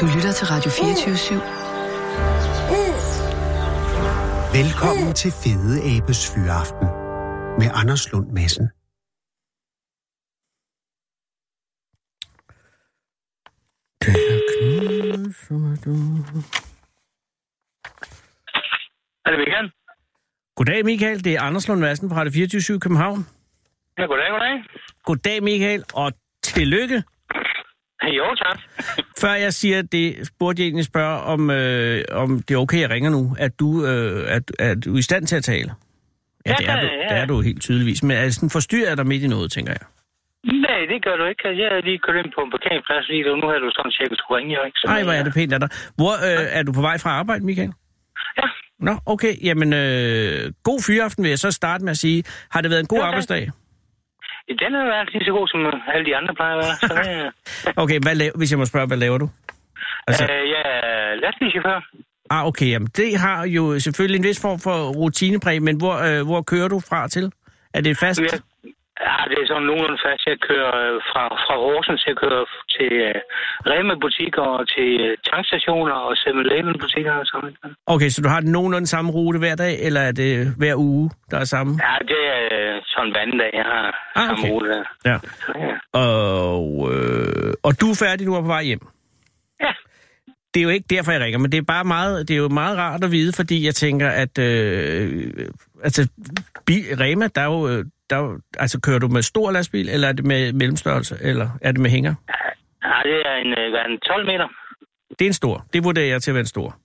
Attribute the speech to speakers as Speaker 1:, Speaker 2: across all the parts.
Speaker 1: Du lytter til Radio 24
Speaker 2: Velkommen til Fede Abes Fyraften med Anders Lund Madsen.
Speaker 3: Er det Michael?
Speaker 4: Goddag Michael, det er Anders Lund Madsen fra Radio 24 København.
Speaker 3: Ja, goddag, goddag.
Speaker 4: Goddag Michael, og tillykke.
Speaker 3: Jo, tak.
Speaker 4: Før jeg siger det, spurgte jeg egentlig spørge, om, øh, om det er okay, jeg ringer nu. Er du, øh, er, er du i stand til at tale? Ja,
Speaker 3: Ja,
Speaker 4: det er du,
Speaker 3: ja.
Speaker 4: det er du helt tydeligvis. Men er det sådan forstyrrer jeg dig midt i noget, tænker jeg?
Speaker 3: Nej, det gør du ikke. Jeg er lige kørt ind på en parkeringsplads lige nu. Nu har du sådan cirka skulle ringe, jo, ikke? Så,
Speaker 4: Nej, hvor er det pænt af dig. Hvor øh, er du på vej fra arbejde, Michael?
Speaker 3: Ja.
Speaker 4: Nå, okay. Jamen, øh, god fyraften vil jeg så starte med at sige. Har det været en god
Speaker 3: Jo, tak.
Speaker 4: arbejdsdag?
Speaker 3: Den er jo altså lige så god, som alle de andre plejer at være. Så, det-
Speaker 4: Okay, hvad laver, hvis jeg må spørge, hvad laver du? Altså-
Speaker 3: øh, jeg er lastbilchauffør.
Speaker 4: Ah, okay. Jamen, det har jo selvfølgelig en vis form for rutinepræg, men hvor, øh, hvor kører du fra til? Er det fast?
Speaker 3: Jeg, ja, det er sådan nogenlunde fast. Jeg kører øh, fra, fra Horsens, jeg kører til øh, Rema-butikker og til øh, tankstationer og 7-Eleven-butikker og sådan noget.
Speaker 4: Okay, så du har den nogenlunde samme rute hver dag, eller er det hver uge, der er samme?
Speaker 3: Ja, det er øh, sådan hver anden dag, jeg har
Speaker 4: Ah,
Speaker 3: samme
Speaker 4: okay.
Speaker 3: rute der.
Speaker 4: Ja.
Speaker 3: Så, ja.
Speaker 4: Og, øh, og du er færdig, du er på vej hjem?
Speaker 3: Ja.
Speaker 4: Det er jo ikke derfor, jeg ringer, men det er bare meget, det er jo meget rart at vide, fordi jeg tænker, at øh, altså, bi, Rema, der er jo, øh, der er jo, altså kører du med stor lastbil, eller er det med mellemstørrelse, eller er det med hænger?
Speaker 3: Ja, det er en, øh, hvad er den, 12 meter.
Speaker 4: Det er en stor. Det vurderer jeg til at være en stor.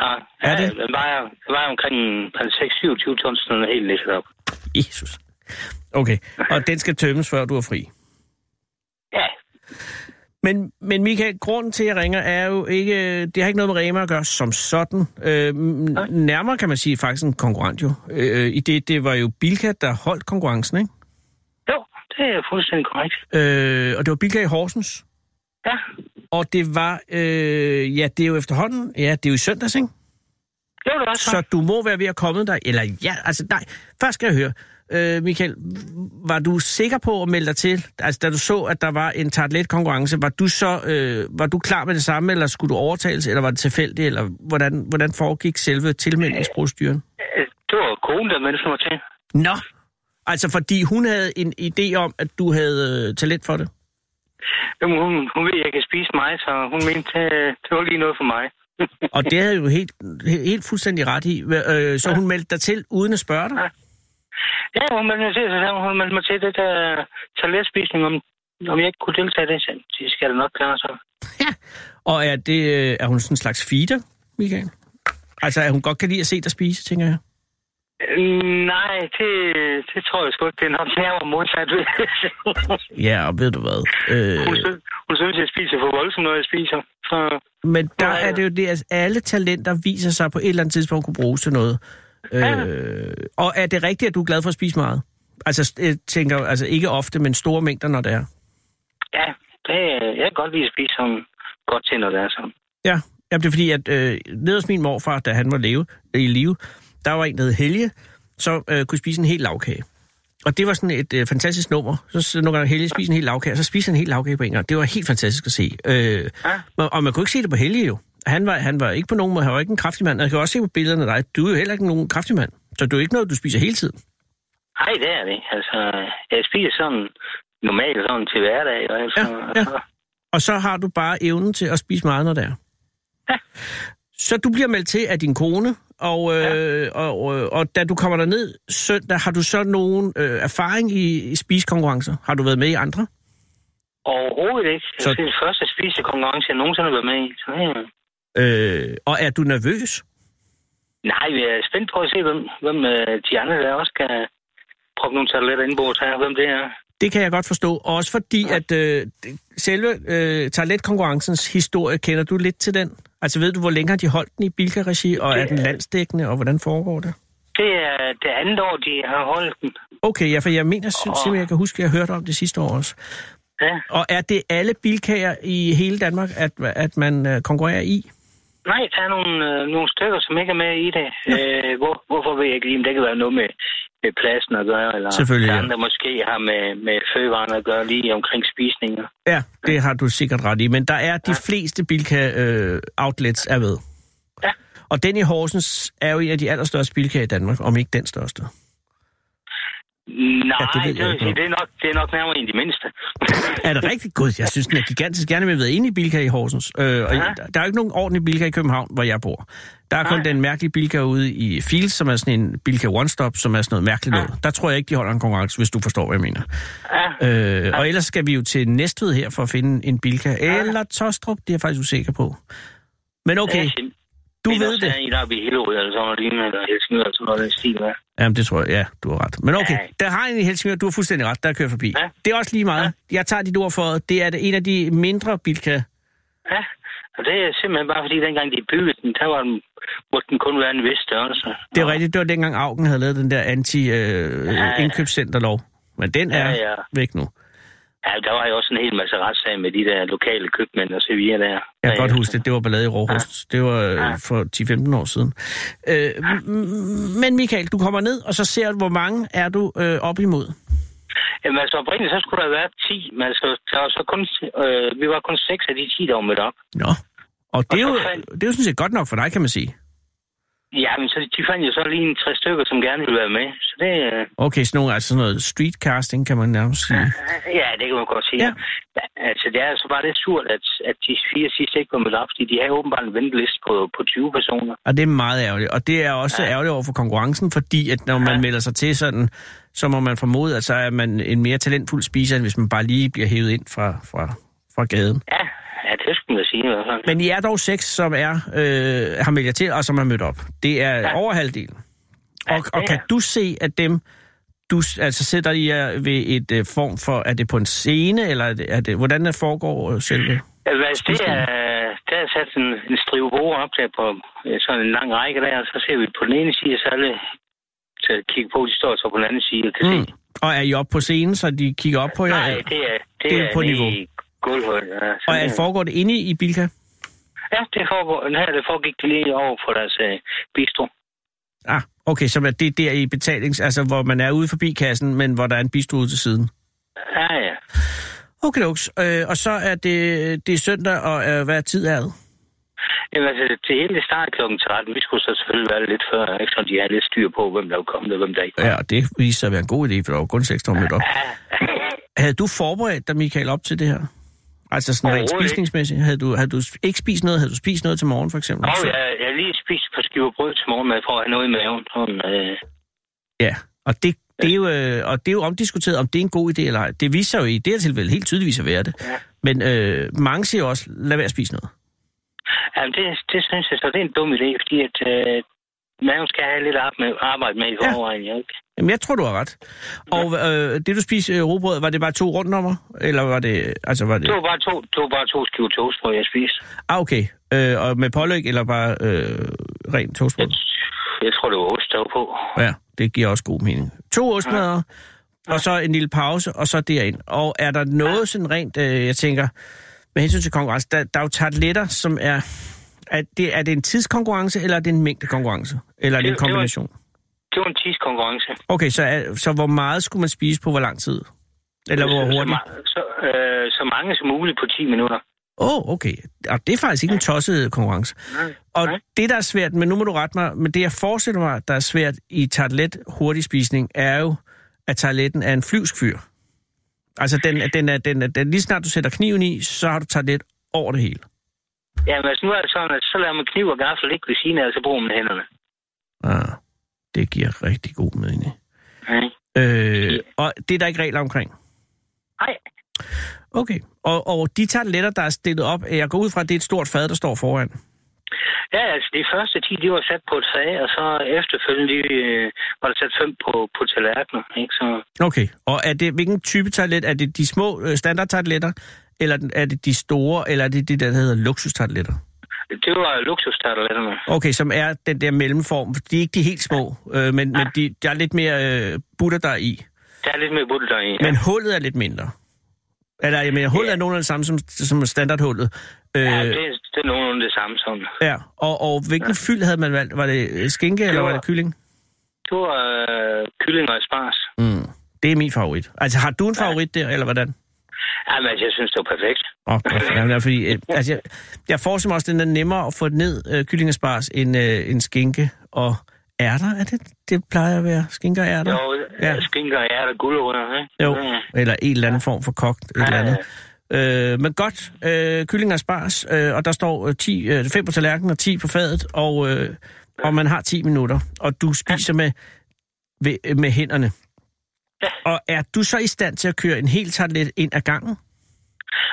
Speaker 3: Ja,
Speaker 4: Er det?
Speaker 3: ja, Den vejer, den vejer omkring 6-27 ton, sådan noget helt lidt op.
Speaker 4: Jesus. Okay, og den skal tømmes, før du er fri.
Speaker 3: Ja,
Speaker 4: Men, men Michael, grunden til, at jeg ringer, er jo ikke... Det har ikke noget med Rema at gøre som sådan. Øh, m- nærmere kan man sige faktisk en konkurrent jo. Øh, I det, det var jo Bilka, der holdt konkurrencen, ikke?
Speaker 3: jo, det er fuldstændig korrekt.
Speaker 4: Øh, og det var Bilka i Horsens.
Speaker 3: Ja,
Speaker 4: Og det var... Øh, ja, det er jo efterhånden... Ja, det er jo i søndags, ikke?
Speaker 3: jo, det var så.
Speaker 4: Så du må være ved at komme dig. Eller ja, altså nej. Først skal jeg høre. Øh, Michael, var du sikker på at melde dig til? Altså, da du så, at der var en tartlet konkurrence, var du så øh, var du klar med det samme, eller skulle du overtales, eller var det tilfældigt, eller hvordan, hvordan foregik selve tilmeldingsproceduren?
Speaker 3: Øh, Det var konen, der meldte mig til.
Speaker 4: Nå! Altså, fordi hun havde en idé om, at du havde øh, talent for det.
Speaker 3: Jamen, hun, hun ved, at jeg kan spise mig, så hun mente, øh, det var lige noget for mig.
Speaker 4: Og det havde jo helt, helt, helt fuldstændig ret i. Hva- Øh, så hun meldte dig til, uden at spørge dig?
Speaker 3: Ja, hun meldte mig til, så sagde hun, hun meldte mig til det der toiletspisning, om, om jeg ikke kunne deltage i det. Så det skal jeg da nok klare, så.
Speaker 4: Og er, det, øh, er hun sådan en slags feeder, Michael? Altså, at hun godt kan lide at se dig spise, tænker jeg.
Speaker 3: Øh, nej, det, det tror jeg sgu ikke. Det er nok nærmere modsat. ved jeg.
Speaker 4: Ja, og ved du hvad?
Speaker 3: hun,
Speaker 4: Øh,
Speaker 3: synes, hun synes, jeg spiser for voldsomt, når jeg spiser. Så
Speaker 4: men der er det jo det, at alle talenter viser sig på et eller andet tidspunkt kunne bruges til noget. Øh, og er det rigtigt, at du er glad for at spise meget? Altså, jeg tænker, altså ikke ofte, men store mængder, når det er.
Speaker 3: Ja, det, øh, jeg kan godt lide at spise sådan godt til, når det er sådan.
Speaker 4: Ja, Jamen, det er fordi, at øh, nede hos min morfar, da han var leve, i live, der var en, der hed Helge, som øh, kunne spise en hel lavkage. Og det var sådan et øh, fantastisk nummer. Så, så nogle gange Helge spiste en hel lavkage, og så spiste han en hel lavkage på en gang. Det var helt fantastisk at se. Øh,
Speaker 3: Ja.
Speaker 4: og, og man kunne ikke se det på Helge jo. Han var, han var ikke på nogen måde, han var ikke en kraftig mand. Og jeg kan også se på billederne af dig, du er jo heller ikke nogen kraftig mand. Så du er ikke noget, du spiser hele tiden.
Speaker 3: Nej, det er det. ikke. Altså, jeg spiser sådan normalt sådan til hverdag. Og altså,
Speaker 4: ja.
Speaker 3: ja,
Speaker 4: Og så har du bare evnen til at spise meget, når det er.
Speaker 3: Ja.
Speaker 4: Så du bliver meldt til af din kone, og, øh, og, øh, og da du kommer derned søndag, har du så nogen øh, erfaring i, i spiskonkurrencer? Har du været med i andre?
Speaker 3: Overhovedet ikke. Så...
Speaker 4: Så-
Speaker 3: Det er den første spisekonkurrence, jeg nogensinde har været med i. Så, ja.
Speaker 4: Øh, og er du nervøs?
Speaker 3: Nej, vi er spændt på at se, hvem, hvem øh, de andre der også kan proppe nogle tabletter ind på her, hvem det er.
Speaker 4: Det kan jeg godt forstå. Også fordi, ja. at øh, det- selve øh, toiletkonkurrencens historie, kender du lidt til den? Altså ved du, hvor længe har de holdt den i Bilka-regi, og er den landsdækkende, og hvordan foregår det?
Speaker 3: Det er det andet år, de har holdt den.
Speaker 4: Okay, ja, for jeg mener
Speaker 3: Åh.
Speaker 4: simpelthen, jeg kan huske, at jeg hørte om det sidste år også.
Speaker 3: Ja.
Speaker 4: Og er det alle bilkager i hele Danmark, at, at man øh, konkurrerer i?
Speaker 3: Nej, der er nogle, øh, nogle stykker, som ikke er med i det. Øh, hvor, hvorfor ved jeg ikke lige, om det kan være noget med, med pladsen at gøre, eller
Speaker 4: Selvfølgelig, ja.
Speaker 3: andre måske har med, med fødevarene at gøre lige omkring spisninger.
Speaker 4: Ja, det har du sikkert ret i, men der er de fleste Bilka-outlets er ved.
Speaker 3: Ja.
Speaker 4: Og den i Horsens er jo en af de allerstørste Bilka i Danmark, om ikke den største.
Speaker 3: Nej,
Speaker 4: Ja, det
Speaker 3: det,
Speaker 4: ved jeg
Speaker 3: det, vil sige,
Speaker 4: ikke noget.
Speaker 3: det, er nok, det er nok nærmere en af de mindste.
Speaker 4: Er det rigtig godt? Jeg synes, den er gigantisk. Gerne vil jeg været inde i Bilka i Horsens. Øh, og
Speaker 3: Ja.
Speaker 4: ja. Der er jo ikke nogen ordentlig Bilka i København, hvor jeg bor. Der er kun
Speaker 3: Nej.
Speaker 4: den mærkelige Bilka ude i Fields, som er sådan en Bilka One Stop, som er sådan noget mærkeligt
Speaker 3: Ja.
Speaker 4: noget. Der tror jeg ikke, de holder en konkurrence, hvis du forstår, hvad jeg mener.
Speaker 3: ja.
Speaker 4: Øh, og ellers skal vi jo til Næstved her for at finde en Bilka. Eller Tostrup, det er jeg faktisk usikker på. Men okay, du ved det.
Speaker 3: Jeg er en oppe i Hillerød, eller sådan noget altså, lignende, eller Helsingør, eller sådan noget, den stil, ja.
Speaker 4: Jamen, det tror jeg. Ja, du har ret. Men okay,
Speaker 3: Ja.
Speaker 4: der har en i Helsingør, du har fuldstændig ret, der kører forbi.
Speaker 3: Ja.
Speaker 4: Det er også lige meget. Jeg tager dit ord for, det er en af de mindre Bilka.
Speaker 3: Ja, og det er simpelthen bare fordi, dengang de byggede den, der var den, måtte den kun være en vis størrelse.
Speaker 4: Det er rigtigt, det var dengang Augen havde lavet den der
Speaker 3: Ja, ja.
Speaker 4: anti-indkøbscenterlov. Men den
Speaker 3: Ja,
Speaker 4: er
Speaker 3: ja.
Speaker 4: væk nu.
Speaker 3: Ja, der var jo også en hel masse retssag med de der lokale købmænd og så videre der.
Speaker 4: Jeg kan godt huske det. Det var ballade i Råhus. Det var øh, for 10-15 år siden. Øh, m- m- men Michael, du kommer ned, og så ser du, hvor mange er du øh, op imod.
Speaker 3: Jamen altså oprindeligt, så skulle der være 10, men altså, der var så kun, øh, vi var kun 6 af de 10, der var mødt op.
Speaker 4: Nå. Og det er, jo,
Speaker 3: Og så fandt-
Speaker 4: det er jo sådan set godt nok for dig, kan man sige.
Speaker 3: Ja, men så de fandt jo så lige en tre stykker, som gerne ville være med. Så det, øh,
Speaker 4: Okay, sådan nogle, altså sådan noget streetcasting, kan man nærmest sige.
Speaker 3: ja, det kan man godt sige.
Speaker 4: Ja.
Speaker 3: Ja. Altså, det er så bare lidt surt, at, at de fire sidste ikke var mødt op, fordi de havde åbenbart en venteliste på, på 20 personer.
Speaker 4: Og det er meget ærgerligt. Og det er også ja. ærgerligt over for konkurrencen, fordi at når man ja. melder sig til sådan, så må man formode, at så er man en mere talentfuld spiser, end hvis man bare lige bliver hævet ind fra, fra, fra gaden.
Speaker 3: Ja, ja det skulle man sige i hvert fald.
Speaker 4: Men I er dog seks, som er, øh, har meldt jer til, og som er mødt op. Det er ja. over halvdelen. Og,
Speaker 3: Ja,
Speaker 4: ja,
Speaker 3: det
Speaker 4: og kan
Speaker 3: er.
Speaker 4: du se, at dem, du s- altså sætter I jer ved et øh, form for, er det på en scene, eller er det, er det, hvordan det foregår øh, selve?
Speaker 3: Altså, altså, det er, der er sat en, en strive bord op der på øh, sådan en lang række der, og så ser vi på den ene side, så alle så kigger på, de står så på den anden side og kan se.
Speaker 4: Mm. Og er I oppe på scenen, så de kigger op på jer?
Speaker 3: Nej, det er, det
Speaker 4: Det
Speaker 3: det
Speaker 4: er
Speaker 3: er,
Speaker 4: på
Speaker 3: nede
Speaker 4: niveau.
Speaker 3: i Gulvhøjde. Ja, så
Speaker 4: og er,
Speaker 3: det-
Speaker 4: foregår det inde i Bilka?
Speaker 3: ja, det foregår. Den her, det foregik lige over for deres øh, bistro.
Speaker 4: Ah, okay, så er det er der i betalings... Altså, hvor man er ude forbi kassen, men hvor der er en bistro ude til siden.
Speaker 3: Ja, ja.
Speaker 4: Okay, Lux. Øh, og så er det, det er søndag, og øh, hvad tid er det?
Speaker 3: Jamen, altså, det hele det startede kl. 13. Vi skulle så selvfølgelig være der lidt før, ikke? Så de havde lidt styr på, hvem der var kommet og hvem der ikke var.
Speaker 4: Ja, og det viste sig at være en god idé, for der var kun seks der var mødt op. Havde du forberedt dig, Michael, op til det her? Altså sådan rent
Speaker 3: Overhovedet ikke.
Speaker 4: spisningsmæssigt? Havde du, havde du ikke spist noget? Havde du spist noget til morgen, for eksempel?
Speaker 3: Og jeg, jeg har lige spist et par skiver brød til morgenmad for at have noget i maven. Sådan, øh,
Speaker 4: Ja, og det, det er jo, øh, og det er jo omdiskuteret, om det er en god idé eller ej. Det viser jo i det her tilfælde helt tydeligvis at være det.
Speaker 3: Ja.
Speaker 4: Men øh, mange siger også, lad være at spise noget.
Speaker 3: Jamen, det, det synes jeg så, det er en dum idé, fordi at øh, maven skal have lidt arbejde med, arbejde med i
Speaker 4: Ja.
Speaker 3: forvejen, ja. ikke?
Speaker 4: Jamen, jeg tror, du har ret. Og øh, det, du spiste øh, robrød, var det bare to rundnummer? Eller var det... Altså, var det...
Speaker 3: Det var bare to, det var bare to skiver toastbrød, jeg spiste.
Speaker 4: Ah, okay. Øh, og med pålæg, eller bare øh, rent toastbrød?
Speaker 3: Jeg tror, det var ost, der var på.
Speaker 4: Ja, det giver også god mening. To ostmadder, og så en lille pause, og så derind. Og er der noget sådan rent, øh, jeg tænker, med hensyn til konkurrence, der, der er jo tartletter, som er... Er det, er det en tidskonkurrence, eller er det en mængdekonkurrence? Eller er det en
Speaker 3: Det- det var-
Speaker 4: kombination?
Speaker 3: Det var en tidskonkurrence.
Speaker 4: Okay, så, er, så hvor meget skulle man spise på hvor lang tid? Eller hvor
Speaker 3: så, så,
Speaker 4: hurtigt?
Speaker 3: ma- så, øh, så mange som muligt på 10 minutter.
Speaker 4: Åh, oh, okay. Og det er faktisk ikke en tosset konkurrence.
Speaker 3: Nej.
Speaker 4: Og
Speaker 3: Nej.
Speaker 4: det, der er svært, men nu må du rette mig, men det, jeg forestiller mig, der er svært i tartlet hurtigspisning, er jo, at tartletten er en flyvsk fyr. Altså, den, er- den, er, den, er, den, lige snart du sætter kniven i, så har du tartlet over det hele.
Speaker 3: Jamen, altså, nu er det sådan, at så lader man kniv og gaffel ligge ved siden af, og så bruger man hænderne.
Speaker 4: Ah, det giver rigtig god mening.
Speaker 3: Nej.
Speaker 4: Øh, og det er der ikke regler omkring.
Speaker 3: Nej.
Speaker 4: Okay. Og, og de tartletter, der er stillet op, jeg går ud fra, at det er et stort fad, der står foran.
Speaker 3: Ja, altså, de første 10, de var sat på et fag, og så efterfølgende øh, var der sat fem på, på tallerkener, ikke? Så,
Speaker 4: Okay, og er det, hvilken type tartlet? Er det de små øh, standardtartletter, eller den- er det de store, eller er det det, der hedder luksustartletter?
Speaker 3: det var luksustarteletterne.
Speaker 4: Okay, som er den der mellemform. De er ikke de helt små, øh, men, men de, der er lidt mere øh, butter der i.
Speaker 3: Der er lidt mere butter i.
Speaker 4: Men hullet er lidt mindre. Eller jeg mener, hullet er nogenlunde det samme som, som standardhullet. Øh,
Speaker 3: Ja, det, det er nogenlunde det samme som.
Speaker 4: Ja, og, og hvilken ja. fyld havde man valgt? Var det øh, skinke, eller var
Speaker 3: var-
Speaker 4: det kylling?
Speaker 3: Det var øh, kylling og spars.
Speaker 4: Mm. Det er min favorit. Altså, har du en favorit der, eller hvordan?
Speaker 3: Jamen, altså, jeg synes, det var perfekt.
Speaker 4: Åh, oh, ja, fordi, øh, altså, jeg, jeg forestiller mig også, den er nemmere at få ned øh, kyllingespars end øh, en skinke og ærter. Er det, det plejer at være skinke og ærter?
Speaker 3: Jo,
Speaker 4: Ja.
Speaker 3: ja. skinker og ærter, gulerødder, ikke?
Speaker 4: Jo,
Speaker 3: Ja.
Speaker 4: eller en eller anden form for kogt, et
Speaker 3: Ja,
Speaker 4: eller
Speaker 3: ja,
Speaker 4: andet. Øh, men godt, øh, kylling og spars, øh, og der står øh, 10, øh, 5 på tallerkenen og 10 på fadet, og, øh, og man har 10 minutter, og du spiser med, ved, med hænderne. Og er du så i stand til at køre en hel tartelet ind ad gangen?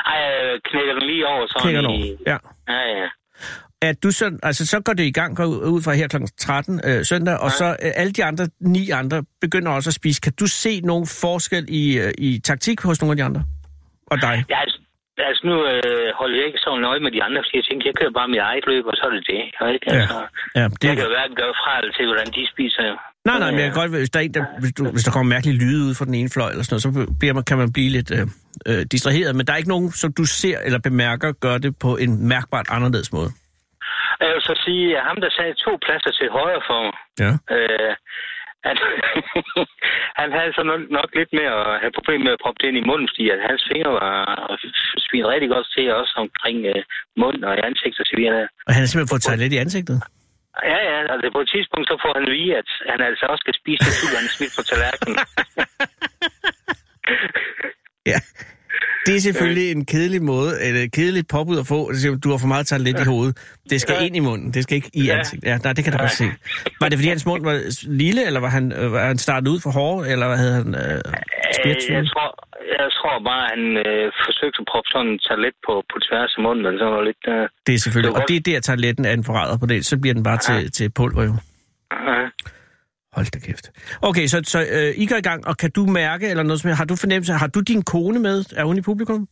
Speaker 3: Ej, jeg knækker den lige over, sådan
Speaker 4: Klikker den
Speaker 3: i...
Speaker 4: over. Ja.
Speaker 3: Ja, ja.
Speaker 4: Er du så, altså, så går det i gang går ud- ud fra her kl. 13 øh, søndag, og
Speaker 3: Ja.
Speaker 4: så øh, alle de andre, ni andre, begynder også at spise. Kan du se nogen forskel i, øh, i taktik hos nogle af de andre? Og dig?
Speaker 3: Ja, altså, altså nu øh, holder jeg ikke så nøje med de andre, fordi jeg tænker, jeg kører bare mit eget løb, og så er det det. Ikke? Altså,
Speaker 4: ja
Speaker 3: det... Jeg kan jo hverken gøre fra eller til, hvordan de spiser. jo.
Speaker 4: Nej, nej, men
Speaker 3: Ja.
Speaker 4: jeg kan godt, hvis der, er en, der, hvis, du, hvis der kommer mærkelige lyde ud fra den ene fløj, eller sådan noget, så bliver man, kan man blive lidt øh, øh, distraheret. Men der er ikke nogen, som du ser eller bemærker, gør det på en mærkbart anderledes måde.
Speaker 3: Jeg vil så sige, at ham, der sagde to pladser til højre for mig,
Speaker 4: Ja.
Speaker 3: øh, han, han havde så nok, nok lidt med at have problemer med at proppe det ind i munden, fordi at hans fingre var svinet rigtig godt til, også omkring øh, mund og i ansigt og så videre.
Speaker 4: Og han har simpelthen fået taget lidt i ansigtet.
Speaker 3: Ja, ja, altså på et tidspunkt, så får han at vide, at han altså også skal spise det sult, han har smidt på tallerkenen.
Speaker 4: Ja. Det er selvfølgelig en kedelig måde, eller et kedeligt påbud at få. Det siger, Du har for meget taget lidt i hovedet. Det skal ind i munden, det skal ikke i
Speaker 3: Ja.
Speaker 4: ansigtet. Ja, nej, det kan du godt se. Var det, fordi hans mund var s- lille, eller var han, øh, var han startet ud for hård, eller hvad havde han øh,
Speaker 3: Øh, Jeg
Speaker 4: spirituel?
Speaker 3: tror, jeg tror bare, at han øh, forsøgte at proppe sådan en toilet på, på tværs af munden, men så var lidt... Øh,
Speaker 4: Det er selvfølgelig,
Speaker 3: Det var
Speaker 4: og det er der, toiletten er en forræder på det. Så bliver den bare til, til pulver jo.
Speaker 3: øh.
Speaker 4: Hold da kæft. Okay, så, så øh, I går i gang, og kan du mærke, eller noget som har du fornemmelse, har du din kone med? Er hun i publikum?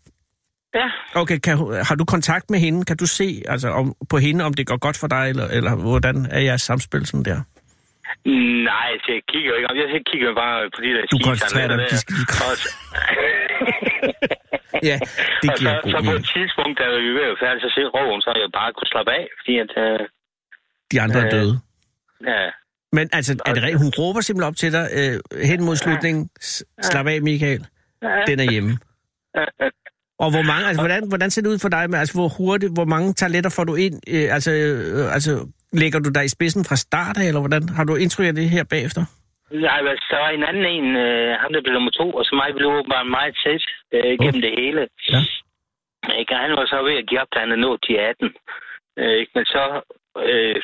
Speaker 3: Ja,
Speaker 4: Okay, kan, hun- har du kontakt med hende? Kan du se altså, om, på hende, om det går godt for dig, eller, eller hvordan er jeres samspil sådan der?
Speaker 3: nej, så jeg kigger jo ikke om. Jeg kigger bare på de der
Speaker 4: Du koncentrerer dig om de skide- Ja, det
Speaker 3: Og så,
Speaker 4: giver
Speaker 3: Altså, så
Speaker 4: god
Speaker 3: på et
Speaker 4: mening.
Speaker 3: tidspunkt, da vi var færdige, så siger Råen, så jeg bare kunne slappe af, fordi at, øh,
Speaker 4: De andre er
Speaker 3: øh,
Speaker 4: døde.
Speaker 3: ja,
Speaker 4: Men altså, er det rigtigt? Hun råber simpelthen op til dig øh, hen mod slutningen. S- Slap af, Michael. Den er hjemme. Og hvor mange, altså, hvordan, hvordan ser det ud for dig? Med, altså, hvor hurtigt, hvor mange toiletter får du ind? Øh, altså, øh, altså, lægger du dig i spidsen fra start af, eller hvordan? Har du indtryk af det her bagefter?
Speaker 3: Nej, men så var en anden en, øh, ham der blev nummer to, og så mig blev åbenbart meget tæt øh, gennem det hele.
Speaker 4: Ja.
Speaker 3: Ikke? Og han var så ved at give op, da han havde nået de 18. Øh, ikke? Men så øh,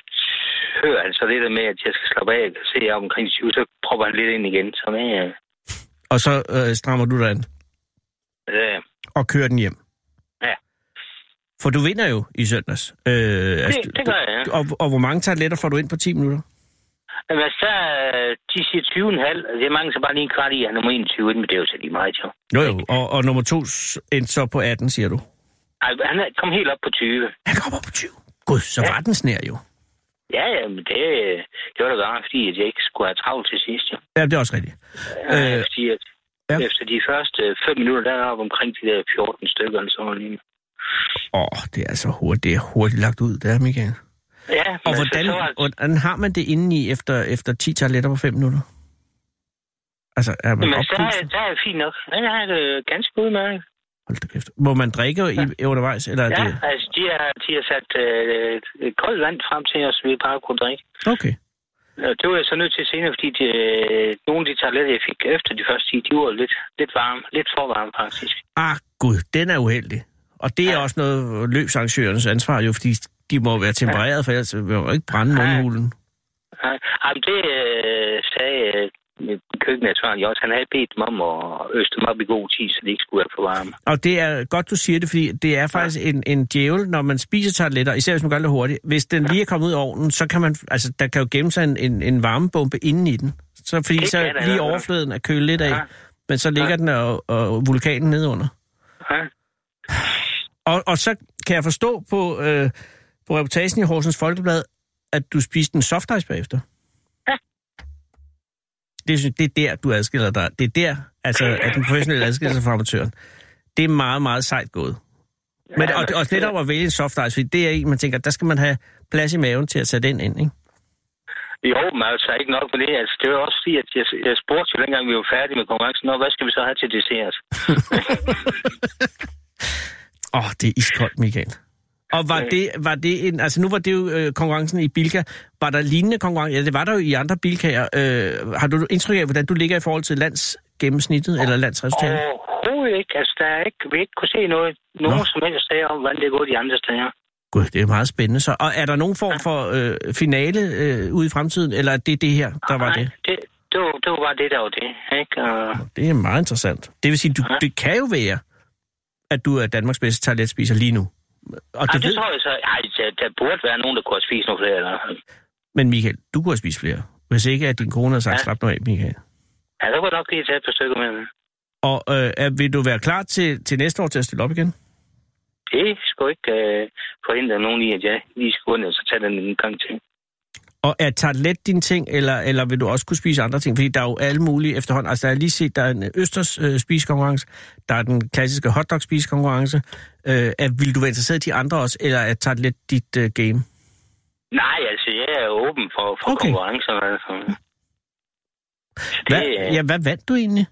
Speaker 3: hører han så lidt med, at jeg skal slappe af, og se jeg er omkring 20, så propper han lidt ind igen. Så øh,
Speaker 4: Og så øh, strammer du dig an
Speaker 3: øh,
Speaker 4: og kører den hjem.
Speaker 3: Ja.
Speaker 4: For du vinder jo i søndags. Øh, altså,
Speaker 3: det, det gør jeg, ja.
Speaker 4: og, og hvor mange toiletter får du ind på 10 minutter?
Speaker 3: Men altså, der, øh, de siger 20,5, det er mange, så bare lige en kvart i, at han er nummer 21, ikke? men det er jo så lige meget, jo.
Speaker 4: Jo, jo. Og, og nummer to s- endte så på 18, siger du.
Speaker 3: Ej, Altså, han er- kom helt op på 20.
Speaker 4: Han kommer på 20. Gud, så ja. var den snær jo.
Speaker 3: Ja, ja, men det, øh, det var da godt, fordi at jeg ikke skulle have travlt til sidst, jo.
Speaker 4: Ja, det er også rigtigt.
Speaker 3: Ja,
Speaker 4: Øh,
Speaker 3: fordi at
Speaker 4: ja.
Speaker 3: ja. efter de første 5 minutter, der er jeg oppe omkring de der 14 stykker, eller sådan noget. lignende.
Speaker 4: Åh, det er altså hurtigt, det er hurtigt lagt ud, det er, Michael.
Speaker 3: Ja,
Speaker 4: Og
Speaker 3: men
Speaker 4: hvordan,
Speaker 3: så, så, var-
Speaker 4: hvordan har man det indeni efter, efter 10 toiletter på 5 minutter? Altså, er man
Speaker 3: men så er,
Speaker 4: oppustet?
Speaker 3: der er fint nok. Ja, jeg har det ganske udmærket.
Speaker 4: Hold da kæft. Må man drikke i, undervejs, eller er
Speaker 3: Ja,
Speaker 4: det...
Speaker 3: altså, de har, de har sat øh, et koldt vand frem til os, så vi bare kunne drikke.
Speaker 4: Okay.
Speaker 3: Og Det var jeg så nødt til senere, fordi de, øh, nogle af de tabletter, jeg fik efter de første 10, de var lidt, lidt varme. Lidt for varme, faktisk.
Speaker 4: Ah, gud, den er uheldig. Og det er
Speaker 3: Ja.
Speaker 4: også noget løbsarrangørens ansvar, jo, fordi de må være tempereret, for ellers vil man jo ikke brænde
Speaker 3: Ja.
Speaker 4: mundhulen.
Speaker 3: Ja, Jamen, det øh, sagde øh, min køkkenansvarlig også. Han havde bedt dem om at øste dem op i god tid, så de ikke skulle være for varme.
Speaker 4: Og det er godt, du siger det, fordi det er faktisk ja. en, en djævel, når man spiser tarteletter, især hvis man gør det hurtigt. Hvis den lige er kommet ud af ovnen, så kan man, altså, der kan jo gemme sig en, en, en varmebombe inden i den. Så, fordi
Speaker 3: Det
Speaker 4: så
Speaker 3: kan der i hvert
Speaker 4: lige
Speaker 3: fald.
Speaker 4: overfladen er kølet lidt af,
Speaker 3: Ja.
Speaker 4: men så ligger
Speaker 3: Ja.
Speaker 4: den og, og vulkanen nedunder.
Speaker 3: Ja.
Speaker 4: Og, og så kan jeg forstå på, øh, på reportagen i Horsens Folkeblad, at du spiste en softice bagefter.
Speaker 3: Ja.
Speaker 4: Det, synes- det er der, du adskiller dig. Det er der, altså, at den professionelle adskiller sig fra amatøren. Det er meget, meget sejt gået. Men, og, og netop at vælge en soft ice, fordi det er en, man tænker, der skal man have plads i maven til at sætte den ind, ikke?
Speaker 3: Jo, men altså ikke nok med det. Altså, det var også fordi, at jeg, jeg spurgte jo dengang, vi var færdige med konkurrencen, Nå, hvad skal vi så have til dessert?
Speaker 4: Åh, oh, det er iskoldt, Michael. Og var det, var det en, altså nu var det jo øh, konkurrencen i Bilka. Var der lignende konkurrence? Ja, det var der jo i andre Bilkaer. Øh, har du indtryk af, hvordan du ligger i forhold til landsgennemsnittet eller landsresultatet?
Speaker 3: Overhovedet ikke. Altså, der er ikke, vi ikke kunne se noget, nogen
Speaker 4: Nå.
Speaker 3: Nå. som helst sager om, hvordan det er gået de andre steder.
Speaker 4: Gud, det er meget spændende. Så, og er der nogen form for øh, finale øh, ude i fremtiden, eller er det det her, der var
Speaker 3: Nej,
Speaker 4: det?
Speaker 3: det, det, var, det var bare det, der var det. Ikke? Og,
Speaker 4: Det er meget interessant. Det vil sige, du,
Speaker 3: Ja.
Speaker 4: det kan jo være, at du er Danmarks bedste toiletspiser lige nu. Og
Speaker 3: det,
Speaker 4: det
Speaker 3: det
Speaker 4: ved,
Speaker 3: tror jeg så. Ej, der, der burde være nogen, der kunne have spist nogle flere. Eller,
Speaker 4: men Michael, du kunne have spist flere, hvis ikke at din kone havde sagt,
Speaker 3: Ja.
Speaker 4: slap nu af, Michael.
Speaker 3: ja, så kunne jeg nok lige tage et par stykker med.
Speaker 4: Og øh, er- vil du være klar til, til næste år til at stille op igen?
Speaker 3: Det skulle ikke øh, forhindre nogen i, at jeg lige skulle ind og så tage den en gang til.
Speaker 4: Og er tartlet din ting, eller, eller vil du også kunne spise andre ting? Fordi der er jo alle mulige efterhånden. Altså, der er lige set, der er en østers øh, spisekonkurrence, der er den klassiske hotdog spisekonkurrence. Øh, er, vil du være interesseret i de andre også, eller er tartlet dit øh, game?
Speaker 3: Nej, altså, jeg er åben for, for
Speaker 4: Okay.
Speaker 3: okay. konkurrencer. Altså. Så Det,
Speaker 4: Hvad,
Speaker 3: øh,
Speaker 4: ja, hvad vandt du egentlig?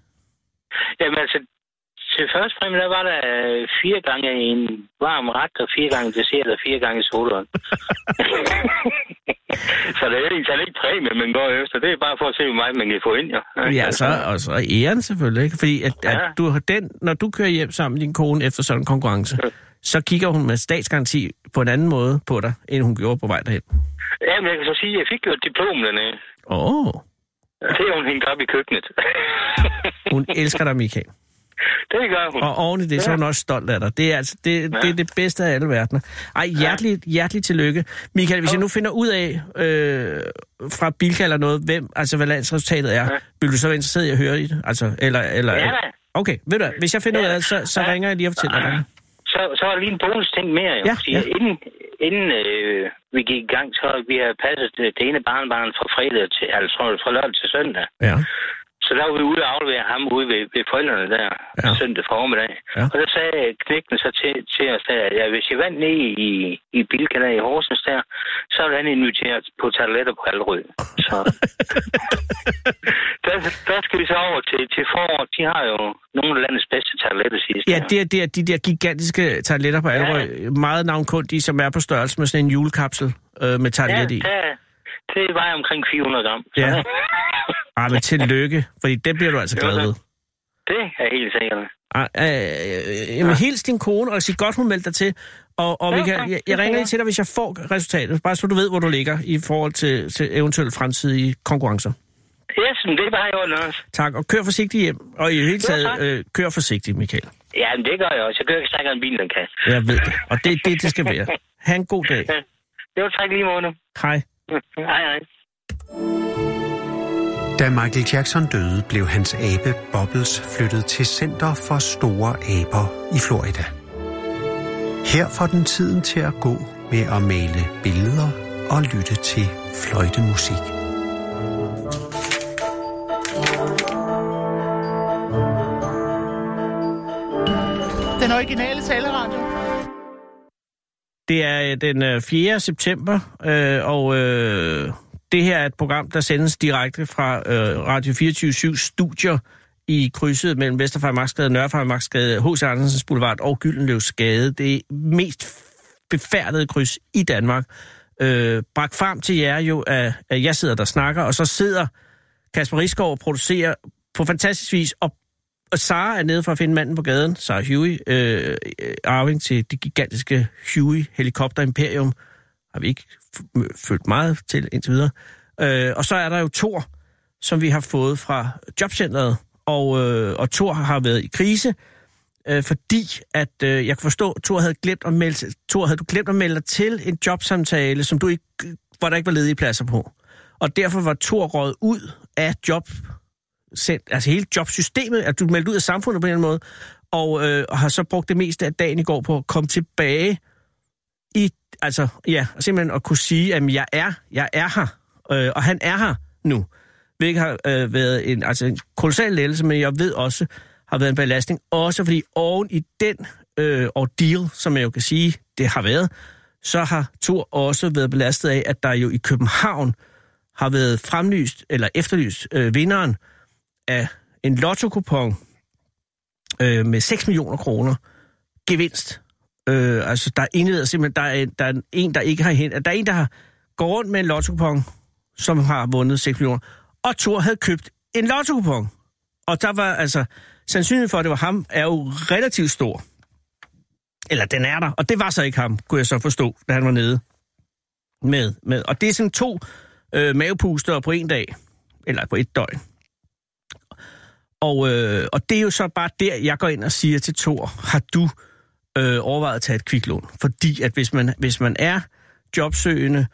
Speaker 3: Jamen altså, til første præmie, der var der øh, fire gange en varm ret, og fire gange dessert, og fire gange sodavand. så det er ikke, så det er ikke præmie, man går efter. Det er bare for at se, hvor meget man kan få ind, jo.
Speaker 4: Ja, så, og så æren selvfølgelig, ikke? Fordi at, at
Speaker 3: Ja.
Speaker 4: du har den, når du kører hjem sammen med din kone efter sådan en konkurrence,
Speaker 3: Ja.
Speaker 4: så kigger hun med statsgaranti på en anden måde på dig, end hun gjorde på vej derhen.
Speaker 3: Jamen, jeg kan så sige, at jeg fik jo diplomerne.
Speaker 4: Åh, oh,
Speaker 3: Det er hun hængt op i køkkenet.
Speaker 4: hun elsker dig, Michael.
Speaker 3: det gør hun.
Speaker 4: Og oven i det, så er hun også stolt af dig. Det er, altså, det, det, er det bedste af alle verdener. Ej, hjerteligt, hjerteligt tillykke. Michael, hvis jeg nu finder ud af øh, fra Bilka eller noget, hvem, altså hvad landsresultatet er, vil du så være interesseret i at høre i det? Altså, eller, eller,
Speaker 3: Ja da.
Speaker 4: Okay, ved du hvad, hvis jeg finder ud af det, så, så
Speaker 3: Ja.
Speaker 4: ringer jeg lige og fortæller dig.
Speaker 3: Så, så var der lige en bonus-ting mere, jo.
Speaker 4: Ja,
Speaker 3: Ja,
Speaker 4: ja.
Speaker 3: ja. Inden, inden øh, vi gik i gang, så vi havde passet det det ene barnbarn fra fredag til, altså fra lørdag til søndag.
Speaker 4: Ja.
Speaker 3: Så der var vi ude og aflevere ham ude ved, ved forældrene der
Speaker 4: Ja.
Speaker 3: ja. søndag formiddag.
Speaker 4: Ja.
Speaker 3: Ja. Og der sagde knægten så til, til os der, at ja, hvis jeg vandt ned i, i Bilka der i Horsens der, så ville han invitere os på toiletter på Allerød. Så der, der, skal vi så over til, til foråret. De har jo nogle af landets bedste toiletter sidst.
Speaker 4: Ja, det er, det er de der gigantiske tartletter på Allerød, meget navnkundige, som er på størrelse med sådan en julekapsel øh, med
Speaker 3: ja,
Speaker 4: tartlet i.
Speaker 3: der, det vejer omkring 400 gram. Så
Speaker 4: Ja. Ej, Ah, men tillykke, fordi det bliver du altså
Speaker 3: Jo,
Speaker 4: glad
Speaker 3: tak.
Speaker 4: ved.
Speaker 3: Det er helt sikkert.
Speaker 4: Ej, øh, jamen, hils din kone, og sig godt, hun meldte dig til. Og, og vi
Speaker 3: Jo,
Speaker 4: kan,
Speaker 3: tak.
Speaker 4: jeg, jeg
Speaker 3: Det
Speaker 4: ringer
Speaker 3: kan
Speaker 4: lige
Speaker 3: jeg.
Speaker 4: til dig, hvis jeg får resultatet. Bare så du ved, hvor du ligger i forhold til, til eventuelle fremtidige konkurrencer.
Speaker 3: Yes, men det er bare i orden også.
Speaker 4: Tak, og kør forsigtigt hjem. Og i det hele taget,
Speaker 3: tak.
Speaker 4: øh, kør forsigtigt, Michael.
Speaker 3: Ja, men det gør jeg også. Jeg kører ikke stærkere end bilen, den kan.
Speaker 4: Jeg ved det, og det er det, det skal være. Ha' en god dag.
Speaker 3: Ja. Det var tak lige måde.
Speaker 4: Hej.
Speaker 3: Hej, hej.
Speaker 2: Da Michael Jackson døde, blev hans abe Bobbles flyttet til Center for Store Aber i Florida. Her får den tiden til at gå med at male billeder og lytte til fløjtemusik.
Speaker 5: Den originale taleradio.
Speaker 4: Det er øh, den øh, 4. september, øh, og øh, det her er et program, der sendes direkte fra øh, Radio 24 studier i krydset mellem Vesterfejmarksgade, Nørrefejmarksgade, H.C. Andersens Boulevard og Gyldenløvsgade. Det mest befærdede kryds i Danmark. Øh, bragt frem til jer jo, at, at jeg sidder der og snakker, og så sidder Kasper Rigsgaard og producerer på fantastisk vis, og og Sara er nede for at finde manden på gaden, Sara Huey, øh, øh, arving til det gigantiske Huey Helikopter Imperium. Har vi ikke f- mø- følt meget til indtil videre. Øh, og så er der jo Thor, som vi har fået fra jobcentret, og, øh, og Thor har været i krise, øh, fordi at øh, jeg kan forstå, Thor havde glemt at melde, Thor, havde du glemt at melde dig til en jobsamtale, som du ikke, hvor der ikke var ledige pladser på. Og derfor var Thor røget ud af job sendt, altså hele jobsystemet, at du er meldt ud af samfundet på en eller anden måde, og, øh, og har så brugt det meste af dagen i går på at komme tilbage i, altså ja, simpelthen at kunne sige, at jeg er, jeg er her, øh, og han er her nu, hvilket har øh, været en, altså en kolossal lettelse, men jeg ved også, har været en belastning, også fordi oven i den øh, ordeal, som jeg jo kan sige, det har været, så har Thor også været belastet af, at der jo i København har været fremlyst, eller efterlyst, øh, vinderen af en lotto øh, med 6 millioner kroner gevinst. Øh, altså, der er indleder simpelthen, der er, der er en, der ikke har hen, der er en, der har gået rundt med en lotto som har vundet 6 millioner, og Thor havde købt en lotto -kupon. Og der var altså, sandsynligheden for, at det var ham, er jo relativt stor. Eller den er der, og det var så ikke ham, kunne jeg så forstå, da han var nede med. med. Og det er sådan to øh, mavepuster på en dag, eller på et døgn. Og, øh, og det er jo så bare der, jeg går ind og siger til Thor, har du øh, overvejet at tage et kviklån? Fordi at hvis man, hvis man er jobsøgende,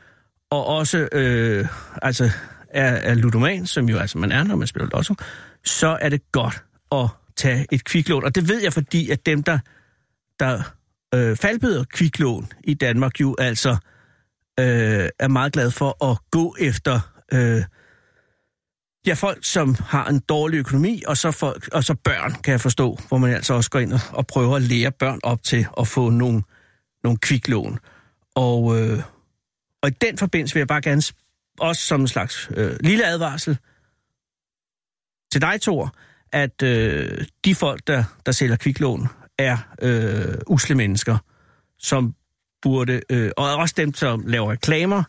Speaker 4: og også øh, altså er, er ludoman, som jo altså man er, når man spiller lotto, så er det godt at tage et kviklån. Og det ved jeg, fordi at dem, der, der øh, faldbyder kviklån i Danmark, jo altså øh, er meget glade for at gå efter øh, ja, folk, som har en dårlig økonomi, og så, folk, og så børn, kan jeg forstå, hvor man altså også går ind og, og prøver at lære børn op til at få nogle, nogle kviklån. Og, øh, og i den forbindelse vil jeg bare gerne, sp- også som en slags øh, lille advarsel til dig, Thor, at øh, de folk, der, der sælger kviklån, er øh, usle mennesker, som burde, øh, og også dem, som laver reklamer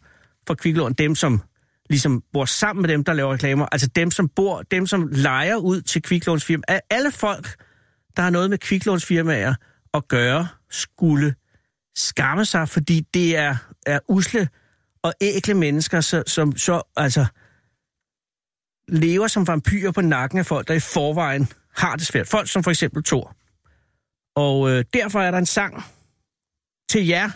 Speaker 4: for kviklån, dem, som ligesom bor sammen med dem, der laver reklamer, altså dem, som bor, dem, som leger ud til kviklånsfirma, at alle folk, der har noget med kviklånsfirmaer at gøre, skulle skamme sig, fordi det er, er usle og ækle mennesker, så, som så altså lever som vampyrer på nakken af folk, der i forvejen har det svært. Folk som for eksempel Thor. Og øh, derfor er der en sang til jer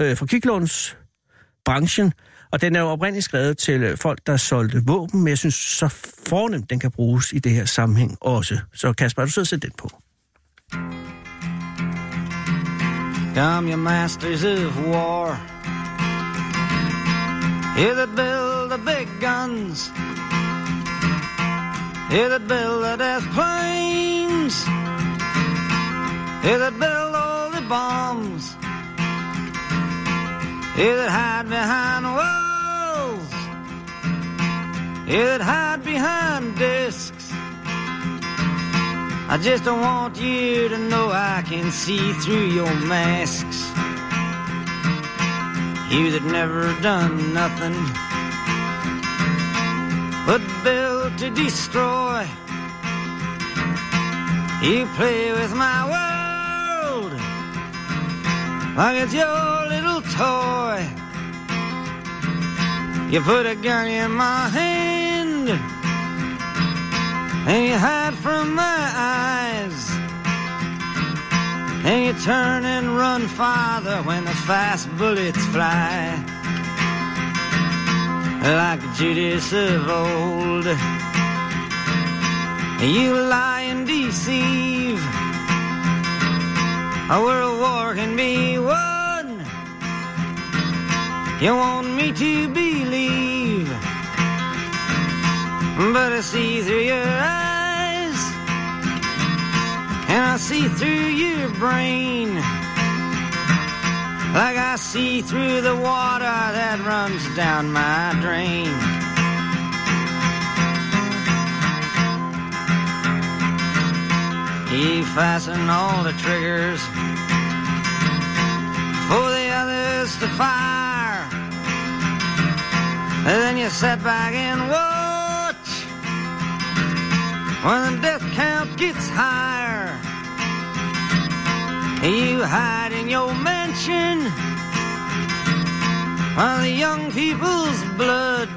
Speaker 4: øh, fra kviklånsbranchen, og den er jo oprindeligt skrevet til øh, folk, der solgte våben, men jeg synes så fornemt, den kan bruges i det her sammenhæng også. Så Kasper, er du sidder og sætter den på.
Speaker 6: Come, you masters of war. You that build the big guns. You that build the death planes. You that build all the bombs. You that hide behind walls. You that hide behind discs. I just don't want you to know I can see through your masks. You that never done nothing but build to destroy. You play with my world like it's your little toy. You put a gun in my hand and you hide from my eyes. And you turn and run farther when the fast bullets fly. Like Judas of old, you lie and deceive. A world war can be won. You want me to believe. But I see through your eyes, and I see through your brain, like I see through the water that runs down my drain. You fasten all the triggers for the others to fire. And then you sit back and watch when the death count gets higher. You hide in your mansion while the young people's blood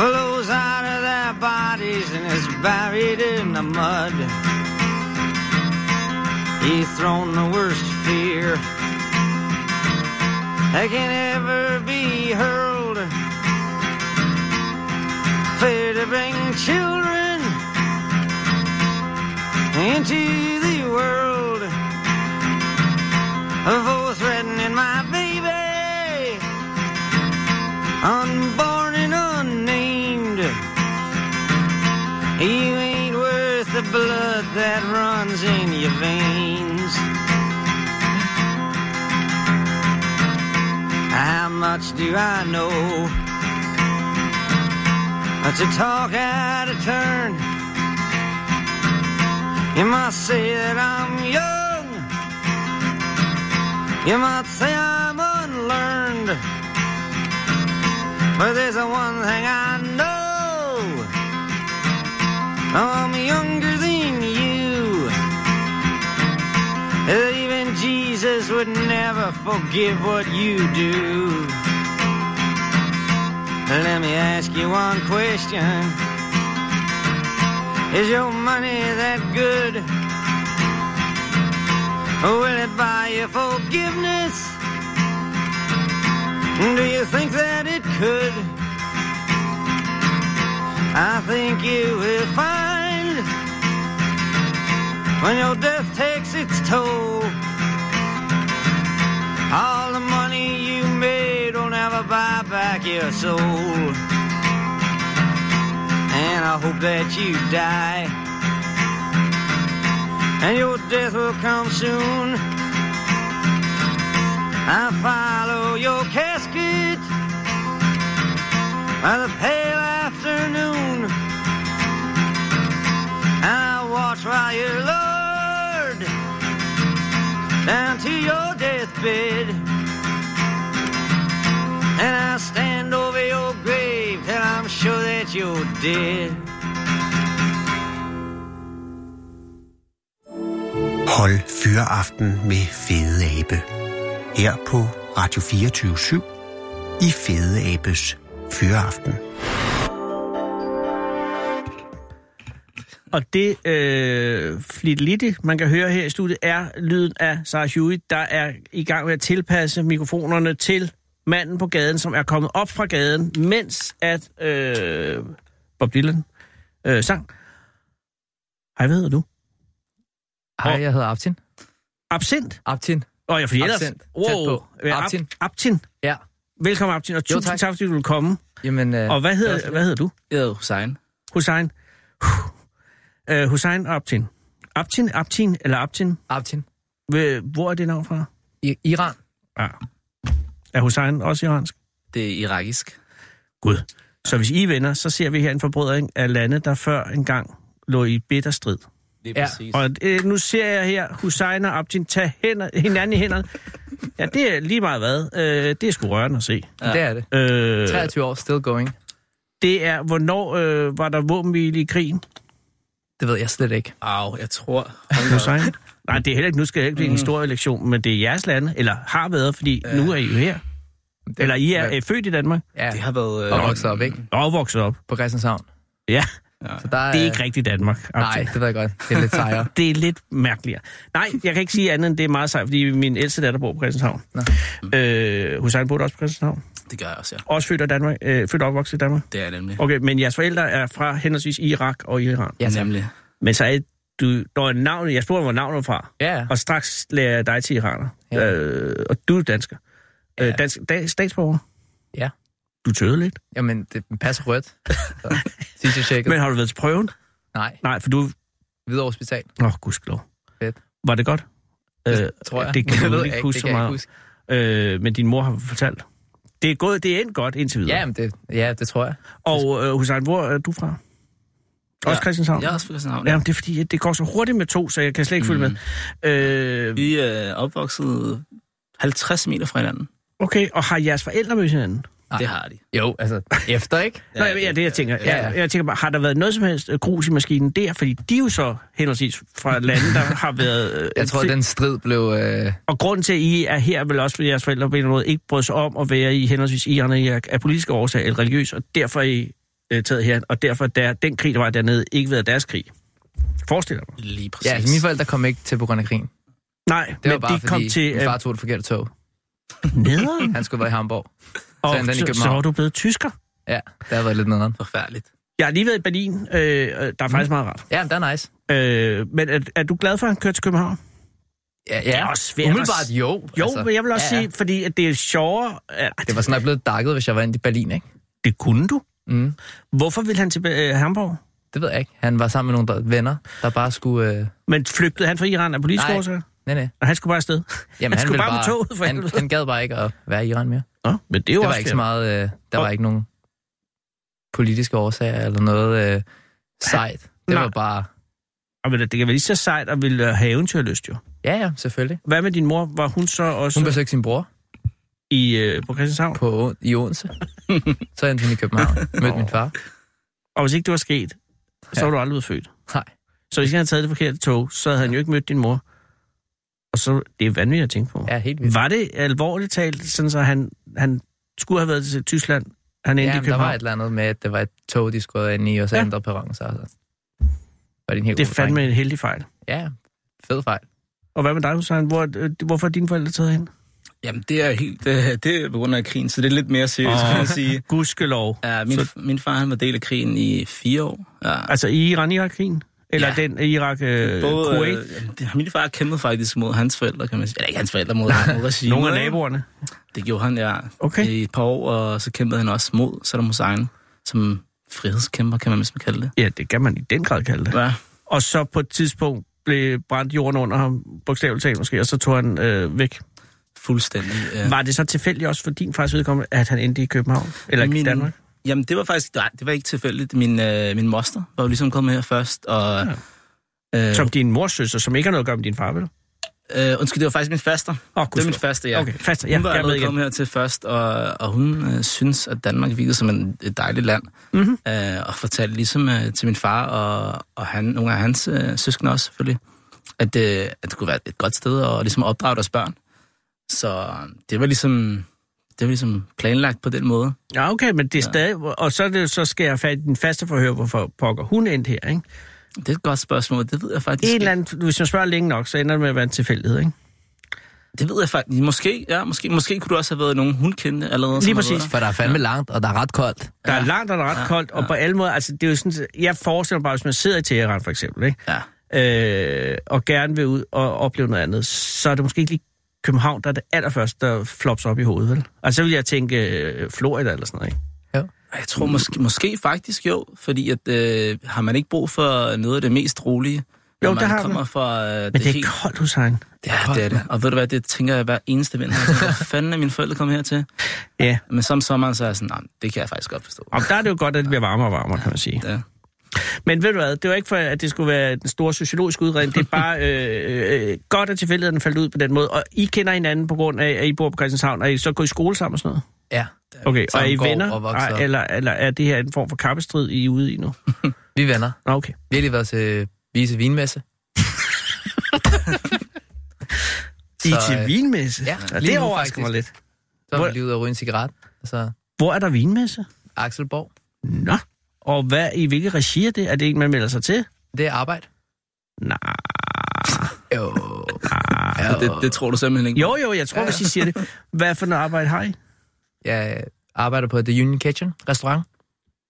Speaker 6: flows out of their bodies and is buried in the mud. You've thrown the worst fear that can ever be hurled. Fear to bring children into the world. For threatening my baby, unborn and unnamed. You ain't worth the blood that runs in your veins. much do I know? But you talk out of turn. You might say that I'm young. You might say I'm unlearned. But there's the one thing I know. I'm younger than you. Even Jesus would never forgive what you do. Let me ask you one question. Is your money that good? Will it buy you forgiveness? Do you think that it could? I think you will find when your death takes its toll. All the money you made will never buy back your soul. And I hope that you die. And your death will come soon. I follow your casket by the pale afternoon. And I watch while you're lowered down to your deathbed. And I stand over your grave till I'm sure that you're dead.
Speaker 2: Hold fyreaften med Fede Abe. Her på Radio 24 i Fede Abes Fyreaften.
Speaker 4: Og det øh, flitlitte, man kan høre her i studiet, er lyden af Sarah Hewitt, der er i gang med at tilpasse mikrofonerne til manden på gaden, som er kommet op fra gaden, mens at øh, Bob Dylan øh, sang. Hej, hvad hedder du?
Speaker 7: Hej,
Speaker 4: Og-
Speaker 7: jeg hedder Aptin.
Speaker 4: Absint?
Speaker 7: Aptin.
Speaker 4: Åh, oh, jeg fordi ellers...
Speaker 7: Absint. Tæt på.
Speaker 4: Ja, Abtin.
Speaker 7: Abtin.
Speaker 4: Abtin.
Speaker 7: Ja.
Speaker 4: Velkommen, Abtin, og
Speaker 7: Jo,
Speaker 4: tusind
Speaker 7: tak.
Speaker 4: tak, fordi du vil komme.
Speaker 7: Jamen, øh,
Speaker 4: Og hvad
Speaker 7: det er
Speaker 4: hedder,
Speaker 7: også-
Speaker 4: hvad hedder du?
Speaker 8: Jeg hedder Hussein.
Speaker 4: Hussein. Uh, Hussein og Abtin. Abtin, Abtin eller Abtin?
Speaker 7: Aptin.
Speaker 4: Ved- Hvor er det navn fra?
Speaker 7: I, Iran.
Speaker 4: Ja. Er Hussein også iransk?
Speaker 8: Det er irakisk.
Speaker 4: Gud. Så hvis I er venner, så ser vi her en forbrødring af lande, der før engang lå i bitter strid.
Speaker 8: Det
Speaker 7: Ja.
Speaker 4: Og øh, nu ser jeg her Hussein og Abdin tage hænder, hinanden i hænderne. Ja, det er lige meget hvad. Øh, det er sgu rørende at se.
Speaker 7: Ja. Det er det.
Speaker 4: Øh,
Speaker 7: 23 år, still going.
Speaker 4: det er, hvornår øh, var der våbenhvile i krigen,
Speaker 7: Det ved jeg slet ikke.
Speaker 8: Au, jeg tror...
Speaker 4: Hussein? Nej, det er heller ikke, nu skal jeg ikke
Speaker 8: Mm.
Speaker 4: blive en historielektion, men det er jeres lande, eller har været, fordi øh. nu er I jo her. Eller I er øh, født i Danmark
Speaker 7: Ja,
Speaker 8: Det har været...
Speaker 7: og vokset op, ikke?
Speaker 4: og vokset op.
Speaker 7: På Christianshavn.
Speaker 4: Ja,
Speaker 7: Så der
Speaker 4: det er ikke rigtigt Danmark.
Speaker 7: Nej,
Speaker 4: Abdin.
Speaker 7: det ved jeg godt. Det er lidt sejere.
Speaker 4: det er lidt mærkeligere. Nej, jeg kan ikke sige andet end det er meget sejt, fordi min ældste datter bor på Christianshavn.
Speaker 7: Nå.
Speaker 4: Øh, Hussein boede også på Christianshavn.
Speaker 8: Det gør jeg også, ja.
Speaker 4: Også født, af Danmark, øh, født og opvokset i Danmark.
Speaker 8: Det er jeg nemlig.
Speaker 4: Okay, men jeres forældre er fra henholdsvis Irak og Iran.
Speaker 7: Ja, tak.
Speaker 8: nemlig.
Speaker 4: Men så er du, når er navnet, jeg spurgte, hvor navnet var fra,
Speaker 7: Ja, ja.
Speaker 4: og straks lærer jeg dig til iraner.
Speaker 7: Ja.
Speaker 4: Øh, og du er dansker. Ja. Øh, dansk, da, statsborger.
Speaker 7: Ja.
Speaker 4: Du tøvede lidt.
Speaker 7: Jamen, det passer rødt. Så, Sidste tjekket.
Speaker 4: Men har du været til prøven?
Speaker 7: Nej,
Speaker 4: Nej, for du...
Speaker 7: Hvidovre Hospital.
Speaker 4: Åh, oh, gudskelov.
Speaker 7: Fedt.
Speaker 4: Var det godt? Øh,
Speaker 7: Det tror jeg.
Speaker 4: Det kan
Speaker 7: Jeg
Speaker 4: du
Speaker 7: ved
Speaker 4: ikke
Speaker 7: ikke,
Speaker 4: huske
Speaker 7: det
Speaker 4: så
Speaker 7: kan jeg
Speaker 4: meget.
Speaker 7: ikke huske.
Speaker 4: Øh, men din mor har fortalt. Det er, gået, det er endt godt indtil videre.
Speaker 7: Ja, men det, ja, det tror jeg.
Speaker 4: Og øh, Hussein, hvor er du fra? Også
Speaker 8: Ja,
Speaker 4: Christianshavn?
Speaker 8: Jeg er også fra Christianshavn.
Speaker 4: Ja, men det er fordi, at det går så hurtigt med to, så jeg kan slet ikke
Speaker 7: Mm.
Speaker 4: følge med. Øh,
Speaker 8: Vi er opvokset 50 meter fra hinanden.
Speaker 4: okay, og har jeres forældre mødt hinanden?
Speaker 7: Nej.
Speaker 8: Det har de.
Speaker 7: Jo, altså, efter, ikke?
Speaker 4: Ja, Nå, ja, det er det, jeg tænker. Ja,
Speaker 7: ja.
Speaker 4: ja. Jeg tænker bare, har der været noget som helst øh, grus i maskinen der? Fordi de er jo så henholdsvis fra lande, der har været... Øh,
Speaker 7: Jeg tror,
Speaker 4: fri-
Speaker 7: den strid blev... Øh,
Speaker 4: Og grunden til, at I er her, er vel også, fordi jeres forældre på en eller anden måde ikke brød sig om at være i henholdsvis Iran og Irak af politiske årsager eller religiøs, og derfor er I øh, taget her, og derfor der, den krig, der var dernede, ikke været deres krig. Forestil dig.
Speaker 8: Lige præcis.
Speaker 7: ja, altså, mine forældre kom ikke til på grund af krigen.
Speaker 4: Nej,
Speaker 7: Det var
Speaker 4: men
Speaker 7: bare,
Speaker 4: de kom
Speaker 7: fordi
Speaker 4: til
Speaker 7: min
Speaker 4: øh,
Speaker 7: far tog det forkerte tog.
Speaker 4: nederen,
Speaker 7: Han skulle være i Hamburg.
Speaker 4: og
Speaker 7: han den i
Speaker 4: så, så
Speaker 7: København.
Speaker 4: var du blevet tysker.
Speaker 7: Ja, det har været lidt nederen.
Speaker 8: Forfærdeligt.
Speaker 4: Jeg har lige været i Berlin, øh, øh, der er faktisk meget rart.
Speaker 7: Ja, men det er nice.
Speaker 4: Øh, men er, er du glad for, at han kørte til København?
Speaker 7: Ja, ja.
Speaker 4: er også svært at
Speaker 7: Umiddelbart
Speaker 4: s-
Speaker 7: jo.
Speaker 4: Jo, altså, men jeg vil også
Speaker 7: ja,
Speaker 4: ja,
Speaker 7: ja.
Speaker 4: sige, fordi at det er sjovere... At,
Speaker 7: Det var sådan, at jeg blev dakket, hvis jeg var inde i Berlin, ikke?
Speaker 4: det kunne du.
Speaker 7: Mm.
Speaker 4: Hvorfor ville han til øh, Hamburg?
Speaker 7: Det ved jeg ikke. Han var sammen med nogle der, venner, der bare skulle... Øh...
Speaker 4: Men flygtede han fra Iran af politiske
Speaker 7: Nej.
Speaker 4: årsager?
Speaker 7: Nej, nej.
Speaker 4: Og han skulle bare afsted.
Speaker 7: Jamen,
Speaker 4: Han
Speaker 7: han,
Speaker 4: skulle
Speaker 7: ville
Speaker 4: bare med toget, for
Speaker 7: han,
Speaker 4: helvede.
Speaker 7: han gad bare ikke at være i Iran mere.
Speaker 4: Nå, men det er jo
Speaker 7: Det var
Speaker 4: også
Speaker 7: ikke
Speaker 4: fair.
Speaker 7: så meget, øh, der
Speaker 4: Og-
Speaker 7: var ikke nogen politiske årsager eller noget øh, sejt. Det
Speaker 4: Nej.
Speaker 7: var bare,
Speaker 4: Og men det kan være lige så sejt at ville øh, have eventyrlyst, jo.
Speaker 7: ja ja, selvfølgelig.
Speaker 4: Hvad med din mor? Var hun så også
Speaker 7: Hun
Speaker 4: hun
Speaker 7: besøgte sin bror
Speaker 4: i, øh, på Christianshavn?
Speaker 7: på, Å- i Odense. så endte hun i København, mødte min far.
Speaker 4: Og hvis ikke det var sket, så
Speaker 7: Ja.
Speaker 4: var du aldrig blevet født.
Speaker 7: Nej.
Speaker 4: Så hvis han havde taget det forkerte tog, så havde han jo ikke mødt din mor. Og så, det er vanvittigt at tænke på.
Speaker 7: Ja, helt vildt.
Speaker 4: Var det alvorligt talt, sådan så han, han skulle have været til Tyskland, han endte i
Speaker 7: Ja, men der var et
Speaker 4: København?
Speaker 7: eller andet med, at det var et tog, de skulle ind i, og så
Speaker 4: Ja.
Speaker 7: ja. ændrede perronen sig. Altså. Var det en helt
Speaker 4: Det er
Speaker 7: god
Speaker 4: fandme
Speaker 7: dreng.
Speaker 4: en heldig fejl.
Speaker 7: Ja, fed fejl.
Speaker 4: Og hvad med dig, Hussein? Hvor, øh, hvorfor er dine forældre taget hen?
Speaker 8: Jamen, det er helt... øh, Det er på grund af krigen, så det er lidt mere seriøst, kan man sige.
Speaker 4: Gudskelov.
Speaker 8: Ja, min,
Speaker 4: Ah. Så-
Speaker 8: min far han var del af krigen i fire år. Ja.
Speaker 4: Altså i Iran-Irak-krigen? Eller ja.
Speaker 8: Ja.
Speaker 4: den Irak-Kuwait? Øh, Kuwait?
Speaker 8: Både, øh, det- min far kæmpede faktisk mod hans forældre, kan man sige. Eller ikke hans forældre, mod, mod regimet.
Speaker 4: Nogle af naboerne?
Speaker 8: Det gjorde han, ja.
Speaker 4: Okay.
Speaker 8: I et par år, og så kæmpede han også mod Saddam Hussein, som frihedskæmper, kan man næsten kalde det.
Speaker 4: Ja, det kan man i den grad kalde det.
Speaker 8: Ja.
Speaker 4: Og så på et tidspunkt blev brændt jorden under ham, bogstaveligt talt måske, og så tog han øh, væk.
Speaker 8: Fuldstændig. Ja.
Speaker 4: Var det så tilfældigt også for din fars vedkommende, at han endte i København? Eller i
Speaker 8: Min-
Speaker 4: Danmark?
Speaker 8: Jamen, det var faktisk... Nej, det var ikke tilfældigt. Min, øh, min moster var jo ligesom kommet her først, og... Ja. Øh,
Speaker 4: Som din mors søster, som ikke har noget at gøre med din far, vel?
Speaker 8: øh, undskyld, det var faktisk min faster.
Speaker 4: Åh,
Speaker 8: Det var min
Speaker 4: gudskelov.
Speaker 8: faster, ja.
Speaker 4: Okay, fast. Ja,
Speaker 8: Ja, hun var
Speaker 4: jeg er med
Speaker 8: allerede
Speaker 4: igen.
Speaker 8: kommet hertil først, og, og hun øh, synes, at Danmark virkede som en, et dejligt land.
Speaker 4: Mhm.
Speaker 8: Øh, og fortalte ligesom øh, til min far og, og han, nogle af hans øh, søskende også selvfølgelig, at, øh, at det kunne være et godt sted at ligesom opdrage deres børn. Så det var ligesom, det var ligesom planlagt på den måde.
Speaker 4: Ja, okay, men det er stadig... Og så, er det, så skal jeg fat i den faste forhør, hvorfor pokker hun endte her, ikke?
Speaker 8: Det er et godt spørgsmål, det ved jeg faktisk
Speaker 4: En eller
Speaker 8: ikke.
Speaker 4: anden, hvis jeg spørger længe nok, så ender det med at være en tilfældighed, ikke?
Speaker 8: Det ved jeg faktisk. Måske, ja, måske, måske kunne du også have været nogen, hun kendte allerede.
Speaker 4: Lige
Speaker 8: som har
Speaker 4: præcis.
Speaker 8: været der.
Speaker 7: For der er fandme langt, og der er ret koldt.
Speaker 4: Der er langt og der er ret ja, koldt, og på alle måder, altså det er jo sådan, jeg forestiller mig bare, hvis man sidder i Teheran for eksempel, ikke?
Speaker 8: Ja.
Speaker 4: øh, og gerne vil ud og opleve noget andet, så er det måske ikke lige København, der er det allerførste, der flops op i hovedet, vel? Altså, så vil jeg tænke øh, Florida eller sådan noget, ikke?
Speaker 8: Ej, Jeg tror måske, måske faktisk jo, fordi at, øh, har man ikke brug for noget af det mest rolige, når
Speaker 4: Jo,
Speaker 8: man
Speaker 4: det har
Speaker 8: kommer
Speaker 4: man.
Speaker 8: fra øh, det,
Speaker 4: Men det er
Speaker 8: helt...
Speaker 4: koldt, Hussein.
Speaker 8: Det er, det er det. Og ved du hvad, det tænker jeg hver eneste ven. her. Hvad fanden er mine forældre kommet hertil?
Speaker 4: Ja,
Speaker 8: Men som sommeren, så er jeg sådan, nej, det kan jeg faktisk godt forstå.
Speaker 4: og der er det jo godt, at det bliver varmere og varmere, kan man sige.
Speaker 8: Ja.
Speaker 4: Men ved du hvad, det var ikke for, at det skulle være den store sociologiske udredning. Det er bare øh, øh, godt, at tilfældigheden faldt ud på den måde. Og I kender hinanden på grund af, at I bor på Christianshavn, og I så går i skole sammen og sådan noget?
Speaker 7: Ja.
Speaker 4: Okay, og er
Speaker 7: Sammen
Speaker 4: I
Speaker 7: går
Speaker 4: venner?
Speaker 7: og vokser
Speaker 4: Ej,
Speaker 7: op.
Speaker 4: eller, eller er det her en form for kappestrid, I er ude i nu?
Speaker 7: Vi er venner.
Speaker 4: Nå, okay.
Speaker 7: Vi har lige været til Vise Vinmesse.
Speaker 4: I er
Speaker 7: Så,
Speaker 4: til
Speaker 7: øh,
Speaker 4: vinmesse?
Speaker 7: ja,
Speaker 4: ja
Speaker 7: lige
Speaker 4: det
Speaker 7: nu
Speaker 4: overrasker mig lidt.
Speaker 7: Så var
Speaker 4: Hvor-
Speaker 7: vi lige ude og ryge en cigaret. Og så
Speaker 4: Hvor er der vinmesse?
Speaker 7: Axel Borg.
Speaker 4: Nå. Og hvad, i hvilket regi er det? Er det ikke, man melder sig til?
Speaker 7: Det er arbejde.
Speaker 4: Nej.
Speaker 7: Jo.
Speaker 8: Ja, det, det tror du simpelthen ikke.
Speaker 4: Ah. Jo, jo, jeg tror, hvis I siger det. Hvad for noget arbejde har I?
Speaker 7: Jeg arbejder på The Union Kitchen restaurant.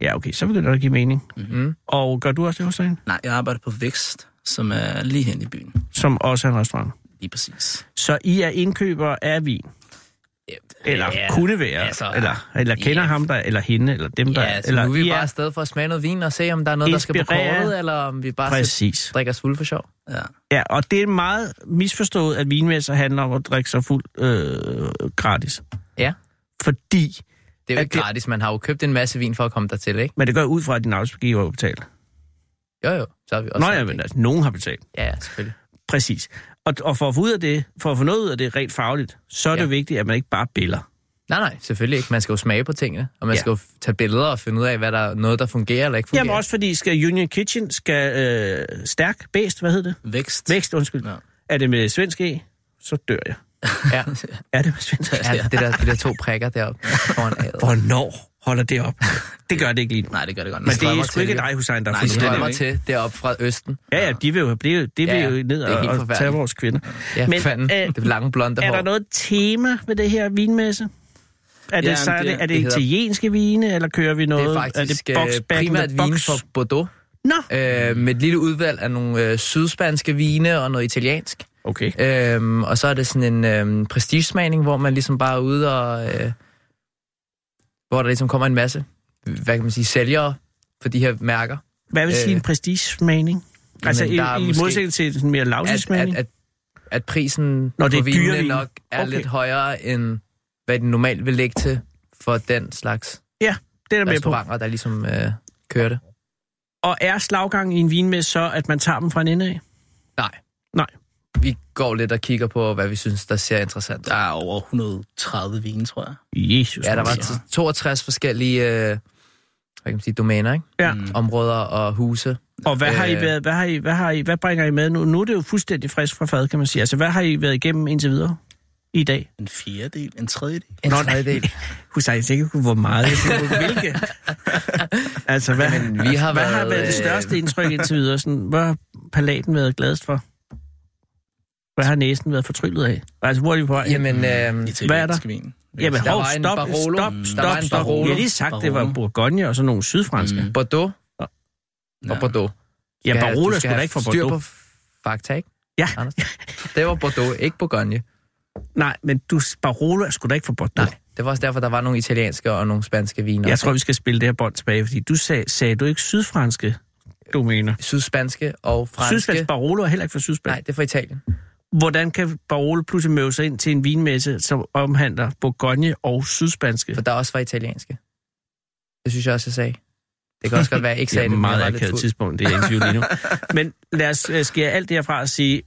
Speaker 4: Ja, okay, så begynder det at give mening.
Speaker 7: Mm.
Speaker 4: Og gør du også det hos dig,
Speaker 8: Nej, jeg arbejder på Vækst, som er lige hen i byen.
Speaker 4: som også er en restaurant?
Speaker 8: Lige præcis.
Speaker 4: Så I er indkøber af vin? Eller
Speaker 8: Ja,
Speaker 4: kunne være?
Speaker 8: altså,
Speaker 4: eller, eller kender
Speaker 8: ja.
Speaker 4: ham der, eller hende, eller dem der?
Speaker 7: Ja, så
Speaker 4: eller
Speaker 7: nu er vi
Speaker 4: I
Speaker 7: bare afsted for at smage noget vin og se, om der er noget, der skal på
Speaker 4: Inspirere.
Speaker 7: kortet, eller om vi bare skal
Speaker 4: Præcis.
Speaker 7: drikke os fulde for sjov.
Speaker 8: Ja.
Speaker 4: Ja, og det er meget misforstået, at vinmesser handler om at drikke sig fuld øh, gratis.
Speaker 7: Ja.
Speaker 4: Fordi,
Speaker 7: Det er jo
Speaker 4: At
Speaker 7: ikke
Speaker 4: det-
Speaker 7: gratis, man har jo købt en masse vin for at komme dertil, ikke?
Speaker 4: men det går jeg ud fra, at din arbejdsgiver har betalt.
Speaker 7: Jo, jo, så har vi også...
Speaker 4: Nå ja,
Speaker 7: sagt,
Speaker 4: men
Speaker 7: ikke?
Speaker 4: altså, nogen har betalt.
Speaker 7: Ja, ja, selvfølgelig.
Speaker 4: Præcis. Og, og for at få ud af det, for at få noget ud af det rent fagligt, så er det
Speaker 7: Ja.
Speaker 4: jo vigtigt, at man ikke bare biller.
Speaker 7: Nej, nej, selvfølgelig ikke. Man skal jo smage på tingene, og man
Speaker 4: Ja.
Speaker 7: ja. skal jo f- tage billeder og finde ud af, hvad der er noget, der fungerer eller ikke fungerer.
Speaker 4: Jamen også fordi, skal Union Kitchen, skal øh, stærk, bæst, hvad hedder det?
Speaker 8: Vækst.
Speaker 4: Vækst, undskyld.
Speaker 8: Ja.
Speaker 4: Er det med svensk E, så dør jeg.
Speaker 7: Ja,
Speaker 4: Er det med svensk E?
Speaker 7: ja det der, de der to prikker deroppe foran A'et.
Speaker 4: Hvornår holder det op? Det gør det ikke lige nu.
Speaker 8: Nej, det gør det godt.
Speaker 4: Men det er
Speaker 7: strømmer
Speaker 4: sgu
Speaker 7: til,
Speaker 4: ikke
Speaker 7: ikke?
Speaker 4: dig, Hussein, der har
Speaker 8: Nej,
Speaker 4: fundet
Speaker 7: De
Speaker 8: det er
Speaker 4: på
Speaker 8: det
Speaker 4: det.
Speaker 7: strømmer
Speaker 8: ikke.
Speaker 7: til deroppe fra Østen.
Speaker 4: Ja, ja, de vil jo, blive, det vil
Speaker 7: Ja, ja.
Speaker 4: jo ned
Speaker 7: Det er helt
Speaker 4: og, og
Speaker 7: forfærdeligt.
Speaker 4: tage vores kvinder.
Speaker 7: Ja,
Speaker 4: Men,
Speaker 7: Men, fanden.
Speaker 4: øh,
Speaker 7: Øh, det lange blonde
Speaker 4: Er
Speaker 7: hår.
Speaker 4: der noget tema med det her vinmesse? Er det,
Speaker 8: Ja,
Speaker 4: så er
Speaker 8: det-
Speaker 4: det, er det,
Speaker 7: det hedder-
Speaker 4: italienske vine, eller kører vi noget?
Speaker 7: det er faktisk
Speaker 4: er det box,
Speaker 7: øh, primært vin
Speaker 4: box?
Speaker 7: fra Bordeaux,
Speaker 4: Nå,
Speaker 7: øh, med et lille udvalg af nogle øh, sydspanske vine og noget italiensk.
Speaker 4: okay.
Speaker 7: Øhm, og så er det sådan en øhm, prestigesmagning, hvor man ligesom bare er ude og... Øh, hvor der ligesom kommer en masse, hvad kan man sige, sælgere for de her mærker.
Speaker 4: Hvad vil sige
Speaker 7: øh,
Speaker 4: en prestigesmagning? Altså i,
Speaker 7: der er
Speaker 4: i
Speaker 7: måske-
Speaker 4: modsætning til sådan en mere
Speaker 7: At, at,
Speaker 4: lavsidsmagning?
Speaker 7: at, at prisen
Speaker 4: Nå, det er
Speaker 7: på vinene
Speaker 4: dyre vine.
Speaker 7: nok er
Speaker 4: Okay.
Speaker 7: lidt højere end hvad den normalt vil lægge til for den slags
Speaker 4: Det er der med på.
Speaker 7: restauranter, der ligesom øh, kører det.
Speaker 4: Og er slaggangen i en vinmesse så, at man tager dem fra en ende af?
Speaker 7: Nej.
Speaker 4: Nej.
Speaker 7: Vi går lidt og kigger på, hvad vi synes, der ser interessant.
Speaker 8: Der er over 130 vine, tror jeg.
Speaker 4: Jesus.
Speaker 7: Ja, der var
Speaker 4: Maria.
Speaker 7: t- 62 forskellige øh, hvad kan man sige, domæner, ikke?
Speaker 4: Ja.
Speaker 8: Mm.
Speaker 7: områder og huse.
Speaker 4: Og hvad har I
Speaker 7: Øh.
Speaker 4: været, hvad har I, hvad har I, hvad bringer I med nu? Nu er det jo fuldstændig frisk fra fad, kan man sige. Altså, hvad har I været igennem indtil videre i dag?
Speaker 8: En fjerdedel, en tredjedel.
Speaker 7: En
Speaker 4: Nå,
Speaker 7: tredjedel.
Speaker 4: Hun sagde ikke, hvor meget. Hvilke? altså, hvad,
Speaker 7: Jamen, vi har
Speaker 4: hvad har
Speaker 7: været,
Speaker 4: været det
Speaker 7: øh,
Speaker 4: største indtryk indtil videre? Sådan, hvad har palaten været gladest for? Hvad har næsen været fortryllet af? Altså, hvor er de på vej? hen?
Speaker 7: Jamen, øh,
Speaker 8: Italiensk vin.
Speaker 4: Jamen,
Speaker 7: der
Speaker 4: hov,
Speaker 7: var en
Speaker 4: stop,
Speaker 7: Barolo.
Speaker 4: stop,
Speaker 7: Mm. Der var
Speaker 4: stop,
Speaker 7: en
Speaker 4: stop.
Speaker 7: Barolo.
Speaker 4: Jeg har lige sagt, det var
Speaker 8: Barolo.
Speaker 4: Bourgogne og sådan nogle sydfranske. Mm.
Speaker 8: Mm.
Speaker 7: Bordeaux og
Speaker 8: Ja.
Speaker 7: Bordeaux.
Speaker 4: Ja,
Speaker 7: Skal-
Speaker 4: Barolo
Speaker 7: skal
Speaker 4: skulle da
Speaker 7: have
Speaker 4: ikke fra
Speaker 7: styr
Speaker 4: Bordeaux.
Speaker 7: på f- fakta, ikke?
Speaker 4: Ja.
Speaker 7: Anders? Det var Bordeaux, ikke Bourgogne.
Speaker 4: Nej, men du, Barolo er sgu da ikke fra Bordeaux.
Speaker 7: Nej, det var også derfor, der var nogle italienske og nogle spanske viner.
Speaker 4: Jeg tror, vi skal spille det her bånd tilbage, fordi du sag, sagde du ikke sydfranske domæner.
Speaker 7: Sydspanske og franske.
Speaker 4: Sydspansk Barolo er heller ikke fra Sydspansk.
Speaker 7: Nej, det er fra Italien.
Speaker 4: Hvordan kan Barolo pludselig møde sig ind til en vinmesse, som omhandler Bourgogne og Sydspanske?
Speaker 7: For der også var italienske. Det synes jeg også, jeg sagde. Det kan også godt være, jeg ikke
Speaker 4: Det er
Speaker 7: sagde det,
Speaker 4: et
Speaker 7: men jeg
Speaker 4: meget
Speaker 7: var lidt
Speaker 4: akavet
Speaker 7: fuld.
Speaker 4: tidspunkt, det er interview lige nu. Men lad os øh, skære alt det her fra og sige,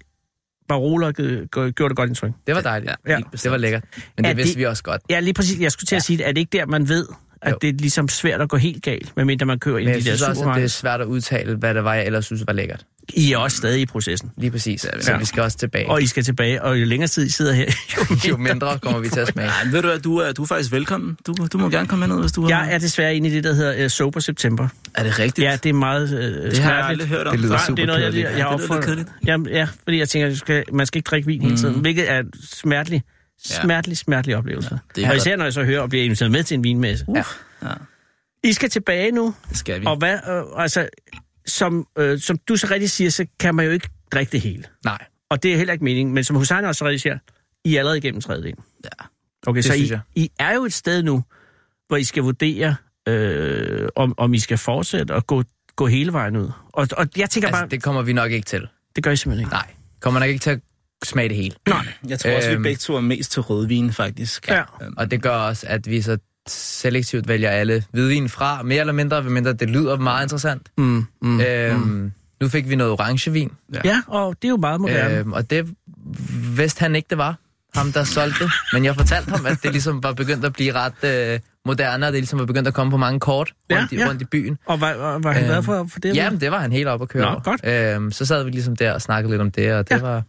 Speaker 4: Barolo g- g- gjorde det godt indtryk.
Speaker 7: Det var dejligt.
Speaker 4: Ja.
Speaker 7: Det var lækkert. Men
Speaker 4: Er
Speaker 7: det vidste
Speaker 4: det-
Speaker 7: vi også godt.
Speaker 4: Ja, lige præcis. Jeg skulle til at sige, at er det ikke der, man ved, at
Speaker 7: Jo.
Speaker 4: det er ligesom svært at gå helt galt, medmindre man kører ind
Speaker 7: Men
Speaker 4: i
Speaker 7: jeg
Speaker 4: de der
Speaker 7: synes også, at det er
Speaker 4: supermarkeder.
Speaker 7: svært at udtale, hvad det var, jeg ellers synes var lækkert.
Speaker 4: I er også stadig i processen.
Speaker 7: Lige præcis. Så vi skal også tilbage.
Speaker 4: Og I skal tilbage, og jo længere tid I sidder her,
Speaker 7: Jo mindre kommer vi til at smage.
Speaker 8: Ej, men ved du hvad, du er, du er faktisk velkommen. Du, du må gerne komme ned, hvis du har...
Speaker 4: Jeg er desværre inde i det, der hedder uh, Sober September.
Speaker 8: er det rigtigt?
Speaker 4: Ja, det er meget uh,
Speaker 8: det har jeg aldrig hørt om. Det lyder
Speaker 4: det er noget, jeg, lige- jeg, jeg
Speaker 8: Ja, det lyder lidt
Speaker 4: opfundet.
Speaker 8: kedeligt.
Speaker 4: Jamen, ja, fordi jeg tænker, at du skal, man skal ikke drikke vin hele
Speaker 8: Mm.
Speaker 4: tiden, hvilket er en smertelig, smertelig, smertelig oplevelse.
Speaker 8: det
Speaker 4: Ja,
Speaker 8: er
Speaker 4: og
Speaker 8: godt.
Speaker 4: især når jeg så hører og bliver inviteret med til en vinmesse. Uh.
Speaker 7: Ja.
Speaker 8: Ja.
Speaker 4: I skal tilbage nu,
Speaker 8: Det skal vi.
Speaker 4: og hvad, øh, altså, som, øh, som du så rigtig siger, så kan man jo ikke drikke det hele.
Speaker 7: Nej,
Speaker 4: Og det er heller ikke meningen, men som Hussein også rigtig siger, I er allerede igennem tredjedelen.
Speaker 8: Ja.
Speaker 4: Okay,
Speaker 7: Det
Speaker 4: så I,
Speaker 7: synes jeg.
Speaker 4: I er jo et sted nu, hvor I skal vurdere, øh, om, om I skal fortsætte og gå, gå hele vejen ud. Og, og jeg tænker altså,
Speaker 7: altså,
Speaker 4: bare, det,
Speaker 7: det kommer vi nok ikke til.
Speaker 4: det gør I simpelthen ikke.
Speaker 7: Nej, kommer nok ikke til at smage det hele.
Speaker 8: Jeg tror også, vi
Speaker 7: Øhm.
Speaker 8: begge to er mest til rødvin, faktisk.
Speaker 4: Ja.
Speaker 8: Øhm,
Speaker 7: Og det gør også, at vi så selektivt vælger alle hvidvin fra, mere eller mindre, hvad mindre det lyder meget interessant.
Speaker 4: Mm, mm.
Speaker 7: Øhm, Nu fik vi noget orangevin,
Speaker 4: Ja, og det er jo meget moderne. Øh,
Speaker 7: øhm, og det vidste han ikke, det var ham, der solgte det. Men jeg fortalte ham, at det ligesom var begyndt at blive ret øh, moderne, og det ligesom var begyndt at komme på mange kort
Speaker 4: Ja,
Speaker 7: rundt, i,
Speaker 4: ja.
Speaker 7: rundt i byen.
Speaker 4: og var, var, var han
Speaker 7: øhm,
Speaker 4: glad for, for det?
Speaker 7: Jamen, det var han helt op at køre
Speaker 4: Nå,
Speaker 7: over.
Speaker 4: godt.
Speaker 7: Øhm, så sad vi ligesom der og snakkede lidt om det, og
Speaker 4: Ja.
Speaker 7: det ja. var...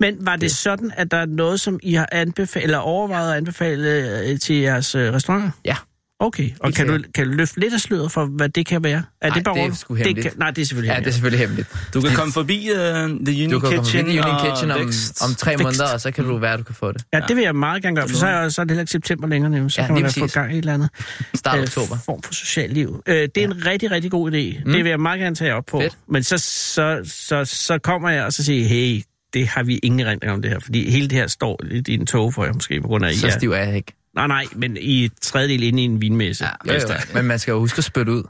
Speaker 4: Men var det sådan, at der er noget, som I har anbefalet, eller overvejet at anbefale øh, til jeres øh, restauranter?
Speaker 7: Ja.
Speaker 4: Okay, og
Speaker 7: Helt
Speaker 4: kan du,
Speaker 7: sikkert.
Speaker 4: kan du løfte lidt af sløret for, hvad det kan være? Er
Speaker 7: Nej,
Speaker 4: det bare
Speaker 7: det er
Speaker 4: rundt?
Speaker 7: sgu hemmeligt.
Speaker 4: kan, Nej, det er selvfølgelig
Speaker 7: Ja, det er
Speaker 4: hemmeligt.
Speaker 7: selvfølgelig hemmeligt.
Speaker 8: Du kan komme forbi uh, The Union
Speaker 7: Du kan komme
Speaker 8: Kitchen,
Speaker 7: ind i Union Kitchen
Speaker 8: og
Speaker 7: om,
Speaker 8: Vækst.
Speaker 7: om tre
Speaker 8: Vækst.
Speaker 7: måneder, og så kan du være, at du kan få det.
Speaker 4: Ja, det vil jeg meget gerne gøre, for så er, så er det heller ikke september længere nu. Så
Speaker 7: Ja,
Speaker 4: ja, kan man
Speaker 7: lige
Speaker 4: da få
Speaker 7: præcis.
Speaker 4: gang i et eller andet.
Speaker 7: Start
Speaker 4: øh,
Speaker 7: oktober.
Speaker 4: form for socialt liv. Øh, det er en rigtig, rigtig god idé. Mm. Det vil jeg meget gerne tage op på.
Speaker 7: Fedt.
Speaker 4: Men så, så, så, så kommer jeg og så siger, hey, det har vi ingen erindring om det her, fordi hele det her står lidt i en tog for jer måske, på grund af,
Speaker 7: Så
Speaker 4: I er-
Speaker 7: stiv er jeg ikke.
Speaker 4: Nej, nej, men i et tredjedel inde i en vinmesse.
Speaker 7: Jo, jo. Men man skal jo huske at spytte ud.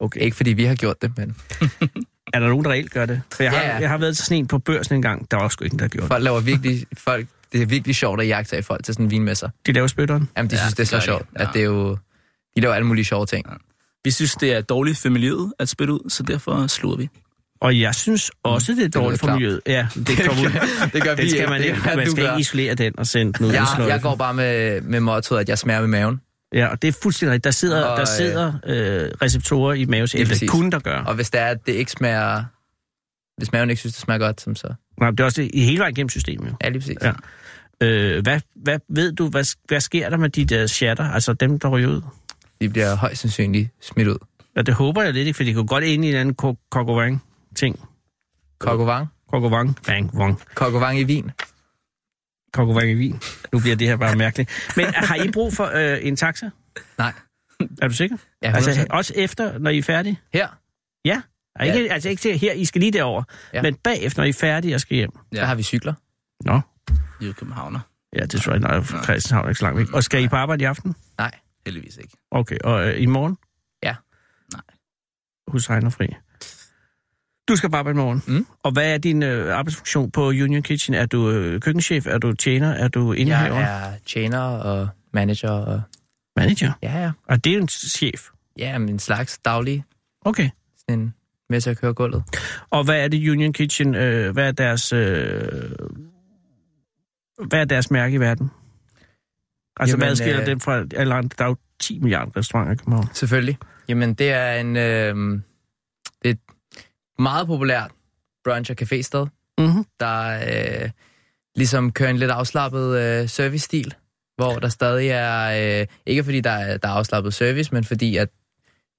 Speaker 7: Okay. Ikke fordi vi har gjort det, men
Speaker 4: Er der nogen, der reelt gør det? For jeg har,
Speaker 7: Ja, ja.
Speaker 4: jeg har været til sådan en på børsen en gang. Der var sgu ikke, der gjorde det.
Speaker 7: folk laver virkelig, folk, det er virkelig sjovt at jagte af folk til sådan en vinmesser.
Speaker 4: De laver spytteren.
Speaker 7: Jamen, de ja,
Speaker 8: Ja,
Speaker 7: synes, det er
Speaker 8: det
Speaker 7: så
Speaker 8: gør de.
Speaker 7: sjovt,
Speaker 8: Ja.
Speaker 7: at det er jo, de laver alle mulige sjove ting.
Speaker 8: Vi synes, det er dårligt for miljøet at spytte ud, så derfor slutter vi.
Speaker 4: Og jeg synes også,
Speaker 7: Mm,
Speaker 4: det er dårligt for
Speaker 7: klart.
Speaker 4: miljøet. Ja, det kommer ud.
Speaker 7: Det gør
Speaker 4: Den skal
Speaker 7: ikke.
Speaker 4: man
Speaker 7: Det
Speaker 4: ikke.
Speaker 7: gør
Speaker 4: Man
Speaker 7: du
Speaker 4: skal
Speaker 7: gør.
Speaker 4: ikke isolere den og sende den ud. i en
Speaker 7: jeg,
Speaker 4: sløjfe.
Speaker 7: jeg går bare med, med mottoet, at jeg smager med maven.
Speaker 4: Ja, og det er fuldstændig rigtigt. Der sidder,
Speaker 7: Og,
Speaker 4: der
Speaker 7: øh,
Speaker 4: sidder øh, receptorer i mavesælen. Det
Speaker 7: præcis.
Speaker 4: kun der gør.
Speaker 7: Og hvis det er, at det ikke smager... Hvis maven ikke synes, det smager godt, som så...
Speaker 4: Nej, det er også det, i hele vejen gennem systemet. jo.
Speaker 7: Ja, lige præcis.
Speaker 4: Ja. Øh, hvad, hvad ved du, hvad, hvad sker der med de der chatter, altså dem, der ryger ud?
Speaker 7: De bliver højst sandsynligt smidt ud.
Speaker 4: Ja, det håber jeg lidt ikke, for det kunne godt ind i en anden ko- kokovang-ting.
Speaker 7: Kokovang?
Speaker 4: Kokovang, vang, vang.
Speaker 7: Kokovang i vin.
Speaker 4: Kokovang i vin. Nu bliver det her bare mærkeligt. Men har I brug for øh, en taxa?
Speaker 7: Nej.
Speaker 4: Er du sikker?
Speaker 7: Ja, 100%.
Speaker 4: Altså også efter, når I er færdige?
Speaker 7: Her,
Speaker 4: Ja. Og ikke, Altså ikke til her, I skal lige derover.
Speaker 7: Ja.
Speaker 4: Ja. Men bagefter, når I er færdige og skal hjem.
Speaker 7: ja. der
Speaker 8: Ja.
Speaker 7: har vi cykler.
Speaker 4: Nå,
Speaker 8: I er jo københavner.
Speaker 4: Ja, det tror jeg ikke. Nej, for Christianshavn er ikke så langt væk. Og skal I på arbejde i aften?
Speaker 7: Nej.
Speaker 8: Heldigvis ikke.
Speaker 4: Okay, og øh, i morgen?
Speaker 7: Ja.
Speaker 8: Nej.
Speaker 4: Hussein er fri. Du skal bare arbejde i morgen.
Speaker 7: Mm.
Speaker 4: Og hvad er din øh, arbejdsfunktion på Union Kitchen? Er du øh, køkkenchef? Er du tjener? Er du
Speaker 7: Jeg
Speaker 4: indehaver?
Speaker 7: er tjener og manager og...
Speaker 4: manager.
Speaker 7: Ja, ja.
Speaker 4: Og det er jo en chef.
Speaker 7: Ja, men en slags daglig
Speaker 4: Okay.
Speaker 7: sådan en med til at køre gulvet.
Speaker 4: Og hvad er det Union Kitchen? Øh, hvad er deres... Øh, hvad er deres mærke i verden? Altså, Jamen,
Speaker 7: Jamen,
Speaker 4: hvad skiller øh...
Speaker 7: øh,
Speaker 4: dem fra alle andre? Der er jo 10 milliarder restauranter i København.
Speaker 7: Selvfølgelig. Jamen, det er en... Øh, det er et meget populært brunch- og café-sted,
Speaker 4: Mm-hmm.
Speaker 7: der øh, ligesom kører en lidt afslappet øh, service-stil, hvor der stadig er... Øh, ikke fordi der er, der er afslappet service, men fordi at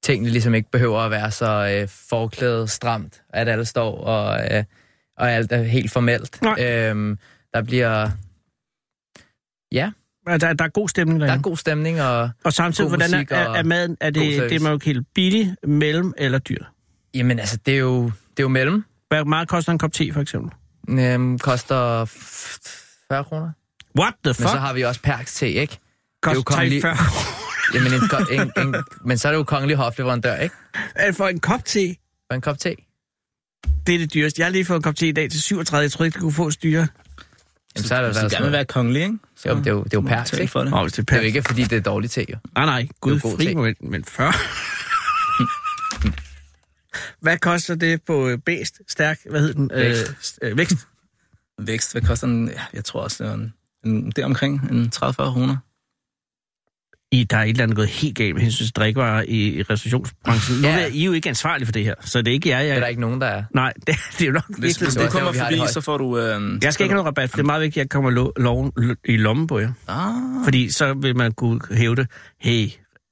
Speaker 7: tingene ligesom ikke behøver at være så øh, forklædet stramt, at alle står og, øh, og alt er helt formelt.
Speaker 4: Nej.
Speaker 7: Øhm, der bliver... Ja,
Speaker 4: Altså, Der, der er god stemning
Speaker 7: der
Speaker 4: derinde.
Speaker 7: er god stemning, og
Speaker 4: Og samtidig,
Speaker 7: god
Speaker 4: hvordan er,
Speaker 7: musik
Speaker 4: er,
Speaker 7: og
Speaker 4: er maden? Er
Speaker 7: god
Speaker 4: det,
Speaker 7: service.
Speaker 4: det er man jo ikke helt billig, mellem eller dyr?
Speaker 7: jamen altså, det er jo, det er jo mellem.
Speaker 4: Hvad meget koster en kop te, for eksempel?
Speaker 7: Øhm, koster f- 40 kroner.
Speaker 4: What the
Speaker 7: Men
Speaker 4: fuck?
Speaker 7: så har vi også Perks te, ikke?
Speaker 4: Koster
Speaker 7: jo kongelig-
Speaker 4: 43
Speaker 7: Jamen, en, ko- en, en, men så er det jo kongelig hofleverandør, ikke?
Speaker 4: kroner. For en kop te?
Speaker 7: For en kop te.
Speaker 4: Det er det dyreste. Jeg har lige fået en kop te i dag til 37. Jeg troede ikke, det kunne få styre.
Speaker 7: Jamen, så er der
Speaker 8: Hvis du
Speaker 7: været
Speaker 8: gerne vil
Speaker 7: sådan
Speaker 8: være kongelig, ikke? Så
Speaker 7: Jo, men det er jo, det er jo
Speaker 4: Mm.
Speaker 8: må du
Speaker 7: Perks,
Speaker 8: betale
Speaker 7: ikke?
Speaker 8: for det.
Speaker 4: Nå, hvis det er
Speaker 7: Det er jo
Speaker 4: pænt.
Speaker 7: ikke, fordi det er dårligt te, jo.
Speaker 4: Ah, Nej, nej. Gud,
Speaker 7: Det er jo god
Speaker 4: fri
Speaker 7: te.
Speaker 4: moment. Men 40. Hvad koster det på øh, bæst? Stærk? Hvad hed den?
Speaker 7: Vækst.
Speaker 4: Øh, s- øh, vækst.
Speaker 8: Vækst, hvad koster den? Ja, jeg tror også, det er en, en, det er omkring en 30-40 kroner.
Speaker 4: I, der er et eller andet gået helt galt med hensyn til drikkevarer i, i restaurationsbranchen. Nu
Speaker 7: Ja.
Speaker 4: er I er jo ikke ansvarlige for det her, så det er ikke jer, jeg...
Speaker 7: Det er der ikke nogen, der er.
Speaker 4: Nej, det, det er jo nok
Speaker 8: Hvis,
Speaker 4: virkelig-
Speaker 8: hvis
Speaker 7: det er
Speaker 8: du
Speaker 7: også
Speaker 8: kommer
Speaker 7: der, vi har
Speaker 8: forbi,
Speaker 7: det højt.
Speaker 8: så får du... Øh,
Speaker 4: Jeg skal ikke have noget rabat, for det er meget vigtigt, at jeg kommer lo- loven l- i lommen på jer.
Speaker 8: Ah,
Speaker 4: Fordi så vil man kunne hæve det. Hey,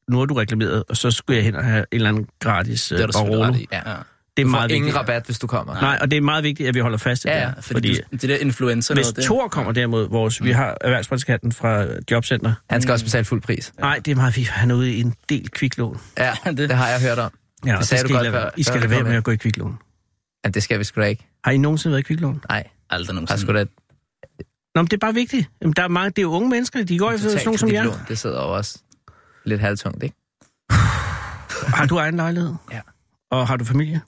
Speaker 4: nu har du reklameret, og så skulle jeg hen og have en eller anden gratis det
Speaker 8: det er du selvfølgelig ret i. Ja. ja.
Speaker 4: Det er
Speaker 7: Du
Speaker 4: meget
Speaker 7: får ingen
Speaker 4: vigtigt.
Speaker 7: rabat, hvis du kommer.
Speaker 4: Nej, og det er meget vigtigt, at vi holder fast i
Speaker 7: Ja,
Speaker 4: det.
Speaker 7: ja,
Speaker 4: her,
Speaker 8: Fordi, fordi du, det der influencer
Speaker 4: Hvis
Speaker 8: noget, det,
Speaker 4: Thor kommer derimod, vores, vi
Speaker 7: Mm.
Speaker 4: har erhvervspraktikanten fra Jobcenter.
Speaker 7: Han skal også betale fuld pris.
Speaker 4: Nej, det er meget fint. Han er ude i en del kviklån.
Speaker 7: Ja, det har jeg hørt om.
Speaker 4: Ja,
Speaker 7: sagde
Speaker 4: skal
Speaker 7: du
Speaker 4: I,
Speaker 7: godt
Speaker 4: lade,
Speaker 7: før-
Speaker 4: være- I
Speaker 7: før
Speaker 4: skal
Speaker 7: du
Speaker 4: lade være
Speaker 7: kom
Speaker 4: med
Speaker 7: ind.
Speaker 4: at gå i kviklån.
Speaker 7: Ja, det skal vi sgu da ikke.
Speaker 4: Har I nogensinde været i kviklån?
Speaker 7: Nej,
Speaker 8: aldrig
Speaker 7: der er sgu
Speaker 8: nogensinde.
Speaker 7: da
Speaker 4: Nå, men det er bare vigtigt. Jamen, der er mange, det er jo unge mennesker, de går efter sådan nogen som
Speaker 7: dit
Speaker 4: jer.
Speaker 7: lån. Det sidder jo også lidt halvtungt, ikke?
Speaker 4: Har du egen lejlighed?
Speaker 7: Ja.
Speaker 4: Og har du familie?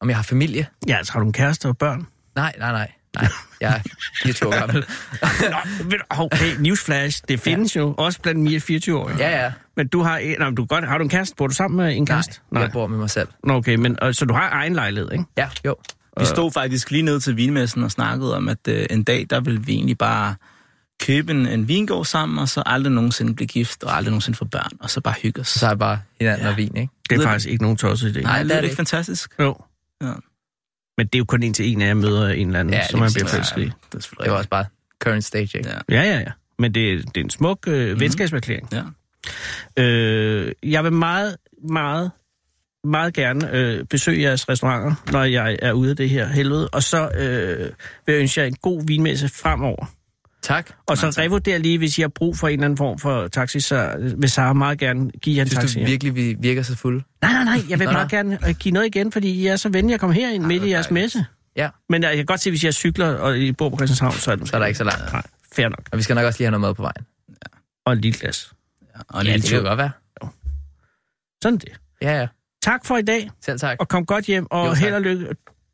Speaker 7: Om jeg har familie?
Speaker 4: Ja, altså har du en kæreste og børn?
Speaker 7: Nej, nej, nej. Nej, jeg er 24 år gammel.
Speaker 4: Nå, ved du- hov, hey, newsflash, det findes ja. jo også blandt mere 24-årige.
Speaker 7: Ja, ja.
Speaker 4: Men du har, en, nej, men du godt, har du en kæreste? Bor du sammen med en kæreste?
Speaker 7: Nej, jeg bor med mig selv.
Speaker 4: Nå, okay, men, og, så du har egen lejlighed, ikke?
Speaker 7: Ja, jo.
Speaker 8: Vi stod faktisk lige ned til vinmessen og snakkede om, at øh, en dag, der ville vi egentlig bare købe en, en vingård sammen, og så aldrig nogensinde blive gift, og aldrig nogensinde få børn, og så bare hygge os.
Speaker 7: Så tager jeg bare hinanden og vin, ikke?
Speaker 4: Det er
Speaker 8: Ved du-
Speaker 4: faktisk ikke nogen tosset idé.
Speaker 7: Nej,
Speaker 8: Nej,
Speaker 7: det
Speaker 8: det
Speaker 7: er
Speaker 8: er
Speaker 7: det
Speaker 8: ikke fantastisk.
Speaker 4: Jo.
Speaker 8: Ja.
Speaker 4: Men det er jo kun en til en af jer møder en eller anden,
Speaker 7: Ja,
Speaker 4: ja, som
Speaker 7: lige
Speaker 4: man
Speaker 7: præcis.
Speaker 4: bliver forelsket i.
Speaker 8: Det er selvfølgelig
Speaker 7: Det var
Speaker 8: rigtigt.
Speaker 7: også bare current stage, ikke?
Speaker 4: Ja,
Speaker 8: Ja.
Speaker 4: ja, ja. Men det, det er en smuk øh, mm-hmm. venskabserklæring.
Speaker 8: Ja.
Speaker 4: Øh, jeg vil meget, meget, meget gerne øh, besøge jeres restauranter, når jeg er ude af det her helvede. Og så øh, vil jeg ønske jer en god vinmesse fremover.
Speaker 7: Tak.
Speaker 4: Og så revurder lige, hvis I har brug for en eller anden form for taxi, så øh, vil Sara meget gerne give jer en
Speaker 7: Synes
Speaker 4: taxi.
Speaker 7: du
Speaker 4: hjem.
Speaker 7: virkelig, vi virker så fulde?
Speaker 4: Nej, nej, nej, jeg vil
Speaker 7: Nå,
Speaker 4: meget
Speaker 7: nå.
Speaker 4: gerne øh, give noget igen, fordi I er så venlige at komme herind midt i
Speaker 7: hvor
Speaker 4: jeres
Speaker 7: dejligt.
Speaker 4: messe.
Speaker 7: Ja.
Speaker 4: Men øh, jeg kan godt se, hvis jeg cykler og I bor på Christianshavn, så er, det
Speaker 7: Så er der ikke så langt.
Speaker 4: Nej, fair nok.
Speaker 7: Og vi skal nok også lige have noget mad på vejen.
Speaker 4: Og en lille glas.
Speaker 8: Og en ja, lille
Speaker 7: det kan jo
Speaker 8: tur.
Speaker 7: godt være.
Speaker 4: Sådan det.
Speaker 7: Ja, ja.
Speaker 4: Tak for i dag,
Speaker 7: Selv tak.
Speaker 4: og kom godt hjem, og
Speaker 7: Jo,
Speaker 4: jo,
Speaker 7: tak.
Speaker 4: held og lykke.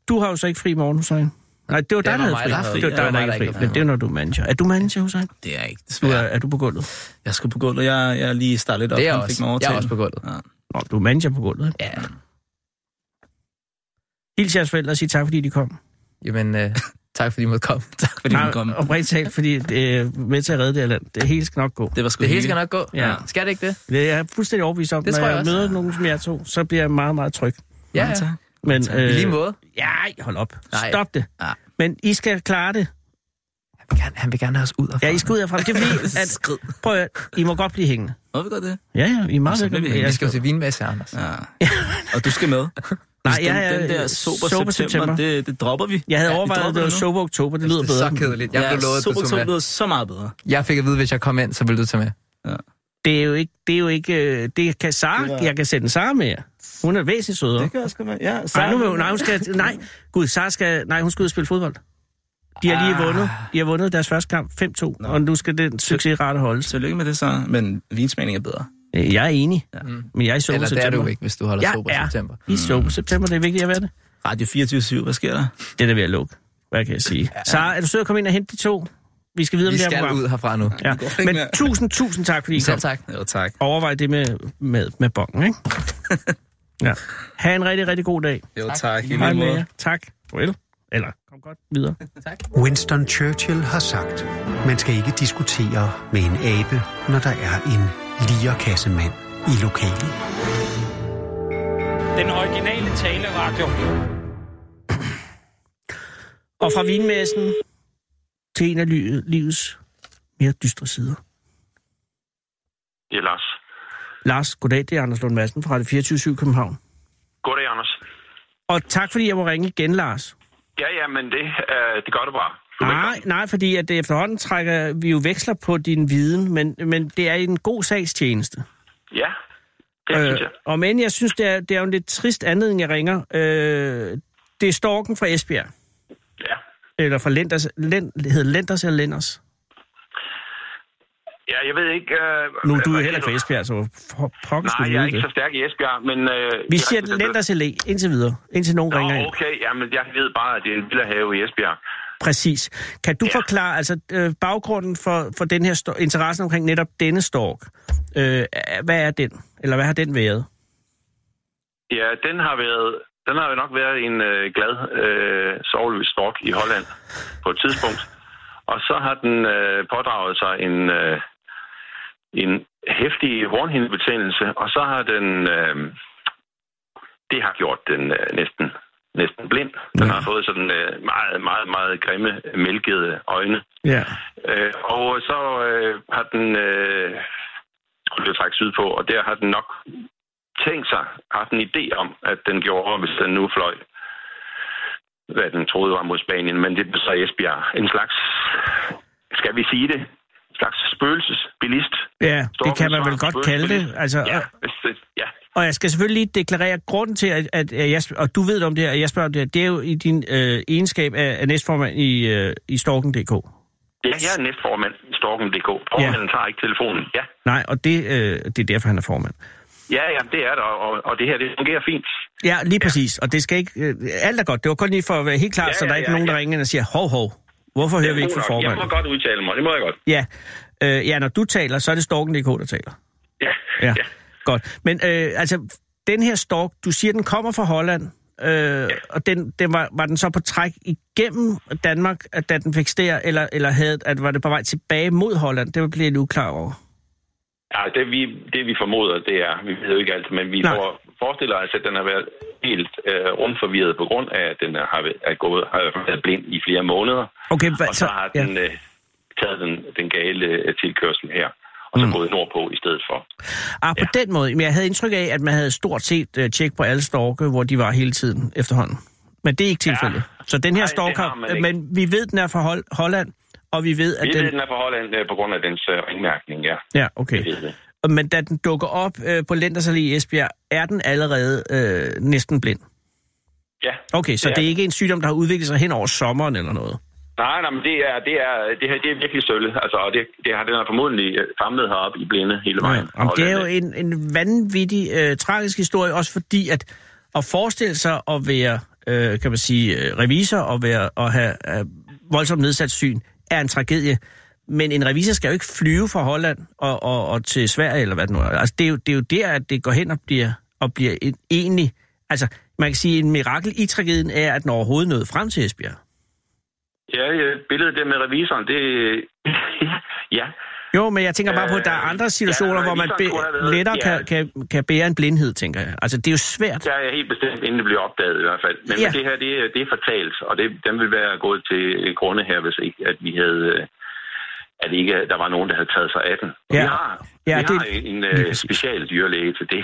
Speaker 4: Du har jo så ikke fri i morgen, Hussein. Nej, det var dig,
Speaker 7: var
Speaker 4: der havde
Speaker 7: mig,
Speaker 4: fri.
Speaker 7: der havde fri.
Speaker 4: Det var
Speaker 7: Det var
Speaker 4: dig, der
Speaker 7: mig,
Speaker 4: ikke
Speaker 7: der
Speaker 4: havde fri.
Speaker 7: ikke var
Speaker 4: Men det er, når du er manager. Er du manager, Hussein?
Speaker 8: Det er ikke
Speaker 4: Du er,
Speaker 8: desværre.
Speaker 4: er du på gulvet?
Speaker 8: Jeg skal på gulvet. Jeg, jeg er lige startet lidt op.
Speaker 7: Det er jeg
Speaker 8: Han fik
Speaker 7: også.
Speaker 8: mig
Speaker 7: Jeg er
Speaker 8: overtalt.
Speaker 7: også på gulvet.
Speaker 8: Ja.
Speaker 4: Nå, du er manager på gulvet. ikke?
Speaker 7: Ja.
Speaker 4: Hils jeres forældre og sig tak, fordi de kom.
Speaker 7: Jamen, øh, tak fordi I måtte komme.
Speaker 8: Tak fordi du kom.
Speaker 4: oprigtigt talt, fordi det er med til at redde det her land. Det er helt skal nok gå.
Speaker 8: Det var sgu
Speaker 7: Det hele skal
Speaker 8: hyggeligt.
Speaker 7: nok gå.
Speaker 4: Ja.
Speaker 7: Skal det ikke det?
Speaker 4: Det er jeg fuldstændig overbevist om.
Speaker 7: Det
Speaker 4: Når
Speaker 7: tror jeg
Speaker 4: jeg
Speaker 7: også.
Speaker 4: møder nogen som jer to, så bliver jeg meget, meget tryg.
Speaker 7: Ja,
Speaker 8: Ja,
Speaker 7: ja.
Speaker 8: tak.
Speaker 4: Men,
Speaker 7: I lige måde.
Speaker 4: Ja, hold op.
Speaker 7: Nej. Ah.
Speaker 4: Stop det.
Speaker 8: Ja.
Speaker 4: Men I skal klare det.
Speaker 7: Han vil gerne, han vil gerne have os ud.
Speaker 4: Ja, I skal ud herfra. Det er fordi, at,
Speaker 8: Skrid.
Speaker 4: prøv at, høre, I må godt blive hængende.
Speaker 8: Må vi godt det?
Speaker 4: Ja, ja, I er meget
Speaker 8: Så
Speaker 4: velkommen.
Speaker 8: vil vi-
Speaker 7: Vi
Speaker 4: Jeg
Speaker 7: skal jo til vinmesse, Anders.
Speaker 8: Ja. Og du skal med.
Speaker 4: Nej,
Speaker 8: Hvis den,
Speaker 4: jeg er-
Speaker 8: den der sober,
Speaker 4: sober
Speaker 8: sober september,
Speaker 4: september.
Speaker 8: det, det dropper vi.
Speaker 4: Jeg havde
Speaker 8: Ja,
Speaker 4: ja,
Speaker 8: vi
Speaker 4: overvejet,
Speaker 8: dropper
Speaker 4: at det var
Speaker 8: nu.
Speaker 4: sober oktober. Det lyder
Speaker 7: Det er
Speaker 4: bedre.
Speaker 7: så kedeligt. Jeg
Speaker 8: ja,
Speaker 7: blev lovet, at
Speaker 8: sober
Speaker 7: du
Speaker 8: oktober
Speaker 7: tog med.
Speaker 8: lyder så meget bedre.
Speaker 7: Jeg fik at vide, hvis jeg kom ind, så ville du tage med.
Speaker 4: Det er jo ikke... Det er jo ikke... øh, Det kan Sara... Jeg kan sende Sara med jer. Hun er væsentligt sødere.
Speaker 8: Det kan jeg sgu med. Ja, så
Speaker 4: Nej, nu vil hun, nej, hun skal, nej, gud, Sara skal, nej, hun skal ud og spille fodbold. De har lige
Speaker 7: Ah.
Speaker 4: vundet, de har vundet deres første kamp 5-2, og nu skal den succesrate holdes.
Speaker 8: Tillykke med det så, men vinsmagning er bedre.
Speaker 4: Øh, Jeg er enig,
Speaker 8: Ja.
Speaker 4: men jeg er i sober
Speaker 7: Eller det er
Speaker 4: september.
Speaker 7: du ikke, hvis du holder
Speaker 4: Jeg
Speaker 7: sober
Speaker 4: er
Speaker 7: september. Mm.
Speaker 4: i sober september, det er vigtigt at være det.
Speaker 8: Radio 24-7, hvad sker der?
Speaker 4: Den er ved at lukke. Hvad kan jeg sige? Ja. Sara, er du sød at komme ind og hente de to? Vi skal videre
Speaker 7: Vi
Speaker 4: med det her
Speaker 7: skal
Speaker 4: program.
Speaker 7: ud herfra nu.
Speaker 4: Ja.
Speaker 8: Det går ikke
Speaker 4: Men
Speaker 8: mere.
Speaker 4: tusind, tusind tak, fordi I kom.
Speaker 7: Selv tak.
Speaker 8: Jo, tak.
Speaker 4: Overvej det med, med, med bongen, ikke? ja. Ha' en rigtig, rigtig god dag.
Speaker 8: Jo, tak. tak. I
Speaker 4: Hej
Speaker 8: lige
Speaker 4: med
Speaker 8: måde.
Speaker 4: jer. Tak. Farvel. Eller, kom godt videre.
Speaker 2: Winston Churchill har sagt, man skal ikke diskutere med en abe, når der er en lierkassemand i lokalet.
Speaker 9: Den originale taleradio.
Speaker 4: Og fra vinmessen til en af ly- livets mere dystre sider.
Speaker 10: Det er Lars.
Speaker 4: Lars, goddag, det er Anders Lund Madsen fra det 24 København.
Speaker 10: Goddag, Anders.
Speaker 4: Og tak, fordi jeg må ringe igen, Lars.
Speaker 10: Ja, ja, men det, øh, det gør du bare. Du er
Speaker 4: Nej,
Speaker 10: velkommen.
Speaker 4: nej, fordi at det efterhånden trækker vi jo veksler på din viden, men, men det er i en god sagstjeneste.
Speaker 10: Ja, det øh. synes jeg.
Speaker 4: og men jeg synes, det er, det er jo en lidt trist anledning, jeg ringer. Øh, det er Storken fra Esbjerg,
Speaker 10: Ja.
Speaker 4: eller fra Lenders, Lend, hedder Lenders eller Lenders?
Speaker 10: ja, jeg ved ikke... Øh,
Speaker 4: Nu er du jo
Speaker 10: hvad
Speaker 4: heller ikke fra
Speaker 10: siger
Speaker 4: Esbjerg, så for pokker
Speaker 10: Nej,
Speaker 4: skulle
Speaker 10: jeg
Speaker 4: du
Speaker 10: er
Speaker 4: vide
Speaker 10: ikke
Speaker 4: det.
Speaker 10: så stærk i Esbjerg, men... Øh,
Speaker 4: Vi
Speaker 10: jeg-
Speaker 4: siger Lenders Allé, indtil videre, indtil nogen ringer ind.
Speaker 10: Nå, okay, jamen jeg ved bare, at det er en lille have i Esbjerg.
Speaker 4: Præcis. Kan du ja.
Speaker 10: Ja.
Speaker 4: forklare altså, øh, baggrunden for, for den her stor- interessen omkring netop denne stork? Øh, er- hvad er den? Eller hvad har den været?
Speaker 10: Ja, den har været... Den har jo nok været en øh, glad, øh, sovløs stork i Holland på et tidspunkt. Og så har den øh, pådraget sig en, øh, en hæftig hornhindebetændelse, og så har den... Øh, det har gjort den øh, næsten, næsten blind. Den har fået sådan øh, meget, meget, meget grimme, mælkede øjne.
Speaker 4: Ja.
Speaker 10: Øh, og så øh, har den øh, skulle det trække syd på, og der har den nok tænkt sig, haft en idé om, at den gjorde, hvis den nu fløj, hvad den troede var mod Spanien, men det blev så Esbjerg. En slags, skal vi sige det, en slags spøgelsesbilist.
Speaker 4: Ja, det kan man vel
Speaker 10: Storkens
Speaker 4: godt kalde det.
Speaker 10: spøgelsesbilist.
Speaker 4: Altså,
Speaker 10: Ja,
Speaker 4: ja.
Speaker 10: hvis det, ja,
Speaker 4: Og jeg skal selvfølgelig lige deklarere grunden til, at, at jeg, sp- og du ved om det her, at jeg spørger om det her, det er jo i din øh, egenskab af, af næstformand i, øh, i Storken.dk.
Speaker 10: ja, jeg er næstformand i Storken.dk. Formanden tager ikke telefonen. Ja,
Speaker 4: Nej, og det, øh, det er derfor, han er formand.
Speaker 10: ja, ja det er det, og, og, og det her, det fungerer fint.
Speaker 4: Ja, lige præcis. Og det skal ikke... Øh, alt er godt. Det var kun lige for at være helt klar, ja,
Speaker 10: Ja,
Speaker 4: så der er
Speaker 10: ja,
Speaker 4: ikke
Speaker 10: ja,
Speaker 4: nogen, der
Speaker 10: ja.
Speaker 4: ringer ind og siger, hov, hov, hvorfor hører vi ikke
Speaker 10: god
Speaker 4: fra
Speaker 10: nok. Jeg
Speaker 4: formanden?
Speaker 10: må godt udtale mig, det må jeg godt.
Speaker 4: Ja. Øh, ja, når du taler, så er det Storken.dk, der taler.
Speaker 10: Ja,
Speaker 4: Ja.
Speaker 10: ja.
Speaker 4: ja. Godt. Men øh, altså, den her stork, du siger, den kommer fra Holland, øh, ja. og den, den var, var den så på træk igennem Danmark, at da den fik stær, eller, eller havde, at var det på vej tilbage mod Holland? Det bliver jeg nu klar over.
Speaker 10: Ja, det vi, det vi formoder, det er, vi ved jo ikke alt, men vi
Speaker 4: Nej.
Speaker 10: for, forestiller os, at den har været helt øh, rumforvirret på grund af, at den er, har, været- er gået, har været blind i flere måneder,
Speaker 4: Okay, hvad,
Speaker 10: og så har den øh, taget den, den gale øh, tilkørsel her, og så mm. gået nordpå i stedet for.
Speaker 4: Ah, på ja. den måde. Men jeg havde indtryk af, at man havde stort set øh, tjek på alle storke, hvor de var hele tiden efterhånden. Men det er ikke tilfældet. Ja. Så den her
Speaker 10: Nej,
Speaker 4: stork
Speaker 10: det har
Speaker 4: har...
Speaker 10: man ikke.
Speaker 4: Men vi ved, den er fra Hol- Holland, og vi ved, at
Speaker 10: Vi den...
Speaker 4: den...
Speaker 10: ved, den er fra Holland øh, på grund af dens øh, ringmærkning, ja.
Speaker 4: Ja,
Speaker 10: Vi
Speaker 4: okay.
Speaker 10: ved det.
Speaker 4: Men da den dukker op øh, på Lenders Allé i Esbjerg, er den allerede øh, næsten blind.
Speaker 10: Ja.
Speaker 4: Okay, så
Speaker 10: Ja.
Speaker 4: det er ikke en sygdom, der har udviklet sig hen over sommeren eller noget.
Speaker 10: Nej, nej, men det er, det er, øh, det her, det er virkelig sølle. Altså, og det, det har den har formodentlig øh, famlet heroppe i blinde hele vejen.
Speaker 4: Om det er
Speaker 10: Holland,
Speaker 4: jo
Speaker 10: øh.
Speaker 4: en, en vanvittig, øh, tragisk historie, også fordi at, at forestille sig at være, øh, kan man sige, øh, revisor og være, at have øh, voldsomt nedsat syn, er en tragedie. Men en revisor skal jo ikke flyve fra Holland og, og, og til Sverige, eller hvad det nu er. Altså, det, er jo, det er jo der, at det går hen og bliver, og bliver en, egentlig... Altså, man kan sige, at en mirakel i tragedien er, at den overhovedet nåede frem til Esbjerg.
Speaker 10: Ja, ja, billedet der med revisoren, det... ja.
Speaker 4: Jo, men jeg tænker bare på, at der er andre
Speaker 10: Øh,
Speaker 4: situationer,
Speaker 10: ja,
Speaker 4: hvor man
Speaker 10: revisoren kunne have
Speaker 4: be-
Speaker 10: været-
Speaker 4: lettere
Speaker 10: ja.
Speaker 4: kan, kan, kan bære en blindhed, tænker jeg. Altså, det er jo svært.
Speaker 10: Der er jeg helt bestemt, inden det bliver opdaget i hvert fald. Men
Speaker 4: Ja.
Speaker 10: ja. det her, det, er- det er fortalt, og det, den ville være gået til grunde her, hvis ikke, at vi havde øh, at ikke at der var nogen, der havde taget sig af den.
Speaker 4: Ja.
Speaker 10: Ja. Vi har,
Speaker 4: Ja,
Speaker 10: ja, vi
Speaker 4: det-
Speaker 10: det, har en
Speaker 4: lige
Speaker 10: øh,
Speaker 4: præcis.
Speaker 10: special dyrlæge til det.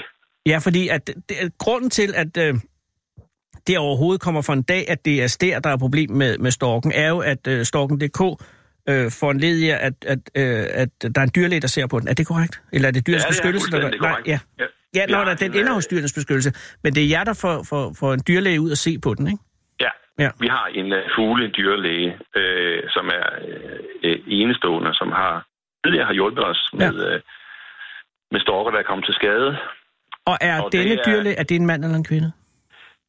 Speaker 4: Ja, fordi at, det, at grunden til, at øh, det overhovedet kommer for en dag, at det er stær, der er problem med, med storken, er jo, at øh, storken.dk øh, foranlediger, at, at, øh, at der er en dyrlæge, der ser på den. Er det korrekt? Eller er det dyrens
Speaker 10: Ja, det er
Speaker 4: beskyttelse? der gør-
Speaker 10: fuldstændig korrekt.
Speaker 4: ja.
Speaker 10: Ja.
Speaker 4: ja,
Speaker 10: Vi
Speaker 4: når
Speaker 10: har
Speaker 4: der,
Speaker 10: en,
Speaker 4: den
Speaker 10: øh,
Speaker 4: ender hos dyrens beskyttelse. Men det er jer, der får, får, får en dyrlæge ud og se på den, ikke?
Speaker 10: Ja.
Speaker 4: Ja.
Speaker 10: ja. Vi har en uh, fugledyrlæge, øh, som er øh, øh, enestående, som har tidligere har hjulpet os
Speaker 4: Ja.
Speaker 10: med, øh, med storker, der er kommet til skade.
Speaker 4: Og er
Speaker 10: Og
Speaker 4: denne
Speaker 10: det er-
Speaker 4: dyrlæge, er det en mand eller en kvinde?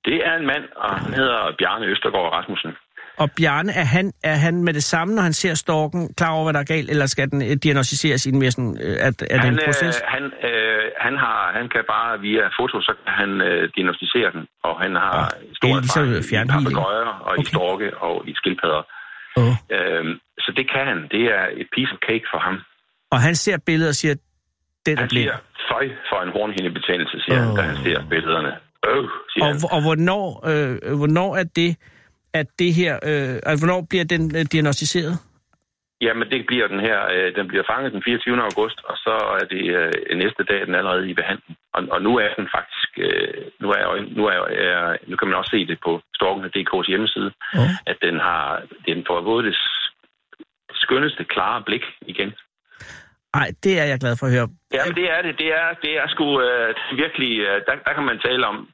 Speaker 8: Det er en mand, og han hedder Bjarne Østergaard Rasmussen.
Speaker 4: Og Bjarne, er han, er han med det samme, når han ser storken, klar over, hvad der er galt, eller skal den øh, diagnostiseres i en mere sådan, øh, er, er det
Speaker 8: han,
Speaker 4: en proces?
Speaker 8: Øh, han, øh, han, har, han kan bare via foto, så kan han øh, diagnostisere den, og han har oh, stor
Speaker 4: det er ligesom
Speaker 8: erfaring i
Speaker 4: fjernhealing.
Speaker 8: papegøjer og okay. i
Speaker 4: Okay.
Speaker 8: storke og i skildpadder.
Speaker 4: Åh.
Speaker 8: Øhm, så det kan han. Det er et piece of cake for ham.
Speaker 4: Og han ser billedet og siger, den er
Speaker 8: Han
Speaker 4: blind.
Speaker 8: siger, føj for en hornhindebetændelse, siger oh. han, da han ser billederne. Øh, siger
Speaker 4: Og,
Speaker 8: han.
Speaker 4: og hvornår, øh, øh, hvornår er det, at det her, øh, altså, hvornår bliver den øh, diagnostiseret?
Speaker 8: Jamen, det bliver den her. Øh, den bliver fanget den 24. august, og så er det øh, næste dag, den er allerede i behandling. Og, og nu er den faktisk... Øh, nu, er, nu, er, er, nu kan man også se det på storken.dk's hjemmeside,
Speaker 4: Oh.
Speaker 8: at den har den får både det s- skønneste, klare blik igen.
Speaker 4: Ej, det er jeg glad for at høre.
Speaker 8: Jamen, det er det. Det er, det er sgu øh, virkelig... Øh, der, der kan man tale om...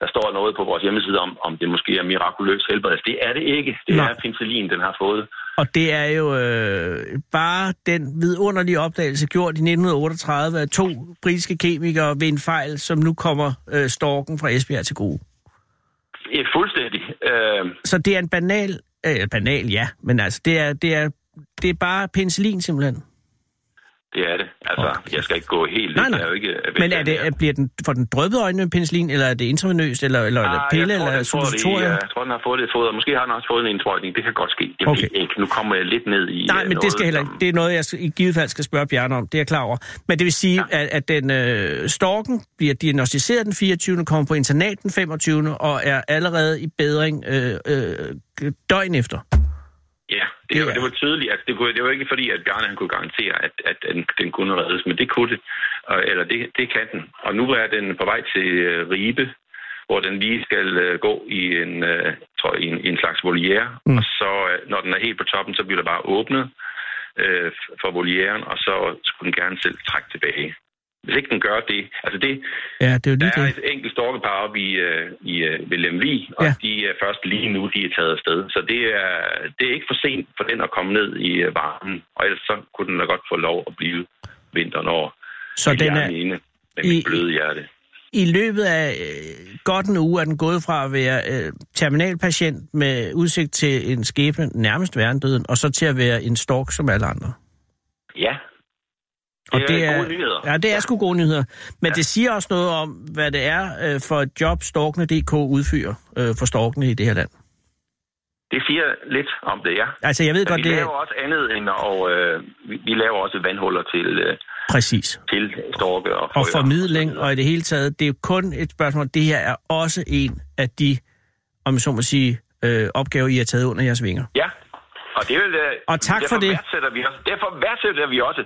Speaker 8: Der står noget på vores hjemmeside om, om det måske er mirakuløs helbredelse. Det er det ikke. Det
Speaker 4: Nej.
Speaker 8: er penicillin, den har fået.
Speaker 4: Og det er jo øh, bare den vidunderlige opdagelse gjort i 1938 af to britiske kemikere ved en fejl, som nu kommer øh, storken fra Esbjerg til gode.
Speaker 8: Eh, Fuldstændig. Øh,
Speaker 4: Så det er en banal, øh, banal ja, men altså, det er, det er, det er bare penicillin simpelthen.
Speaker 8: Det er det. Altså, okay. jeg skal ikke gå helt...
Speaker 4: Nej, nej.
Speaker 8: Jeg er jo ikke øh,
Speaker 4: Men er
Speaker 8: velkendt
Speaker 4: det,
Speaker 8: her.
Speaker 4: er, bliver den, får den drøbet øjnene med penicillin, eller er det intravenøst, eller, eller, eller
Speaker 8: Ah, jeg
Speaker 4: pille,
Speaker 8: tror,
Speaker 4: eller
Speaker 8: jeg tror, det-
Speaker 4: suppositorium?
Speaker 8: Jeg tror, den har fået det fodret. Måske har den også fået en indsprøjtning. Det kan godt ske. Det okay.
Speaker 4: Okay.
Speaker 8: ikke. Nu kommer jeg lidt ned i
Speaker 4: Nej, men
Speaker 8: øh,
Speaker 4: det
Speaker 8: noget,
Speaker 4: skal heller ikke.
Speaker 8: som-
Speaker 4: Det er noget, jeg i givet fald skal spørge Bjarne om. Det er jeg klar over. Men det vil sige, ja. at, at den øh, storken bliver diagnostiseret den 24. kommer på internat den 25. og er allerede i bedring øh, øh, døgn efter.
Speaker 8: Ja, det,
Speaker 4: Det
Speaker 8: det, var,
Speaker 4: er-
Speaker 8: det var tydeligt. Altså, det, kunne, det var ikke fordi, at Bjarne han kunne garantere, at, at, at den, den kunne reddes, men det kunne det. Og, eller det, det kan den. Og nu er den på vej til øh, Ribe, hvor den lige skal øh, gå i en, øh, tror, jeg, i en, i en slags voliere. Mm. Og så, øh, når den er helt på toppen, så bliver der bare åbnet øh, f- for volieren, og så skulle den gerne selv trække tilbage. Hvis ikke den gør det, altså det,
Speaker 4: Ja, det er jo
Speaker 8: der
Speaker 4: lige
Speaker 8: er
Speaker 4: det.
Speaker 8: et enkelt storkepar oppe i, øh, i, øh, ved Lemvi, og
Speaker 4: Ja.
Speaker 8: ja. de er først lige nu, de er taget afsted. Så det er, det er ikke for sent for den at komme ned i øh, varmen, og ellers så kunne den da godt få lov at blive vinteren over.
Speaker 4: Så den
Speaker 8: jeg
Speaker 4: er,
Speaker 8: Ene, med
Speaker 4: i-
Speaker 8: mit bløde hjerte.
Speaker 4: i løbet af øh, godt en uge er den gået fra at være øh, terminalpatient med udsigt til en skæbne nærmest værendøden, og så til at være en stork som alle andre.
Speaker 8: Ja. Det
Speaker 4: Og
Speaker 8: er
Speaker 4: det er,
Speaker 8: gode nyheder.
Speaker 4: Ja, det er sgu gode nyheder. Men
Speaker 8: Ja.
Speaker 4: ja. det siger også noget om, hvad det er øh, for et job, Storkene.dk udfører øh, for storkene i det her land.
Speaker 8: Det siger lidt om det, ja.
Speaker 4: Altså, jeg ved
Speaker 8: Men
Speaker 4: godt,
Speaker 8: vi
Speaker 4: det
Speaker 8: laver
Speaker 4: er...
Speaker 8: også andet end, og øh, vi, vi laver også vandhuller til, øh,
Speaker 4: Præcis.
Speaker 8: til storke og,
Speaker 4: Og
Speaker 8: frøer.
Speaker 4: formidling, og i det hele taget, det er jo kun et spørgsmål. Det her er også en af de, om jeg så må sige, øh, opgaver, I har taget under jeres vinger.
Speaker 8: Ja, og det vil,
Speaker 4: Og tak
Speaker 8: derfor
Speaker 4: for det.
Speaker 8: Værdsætter vi også, derfor værdsætter vi også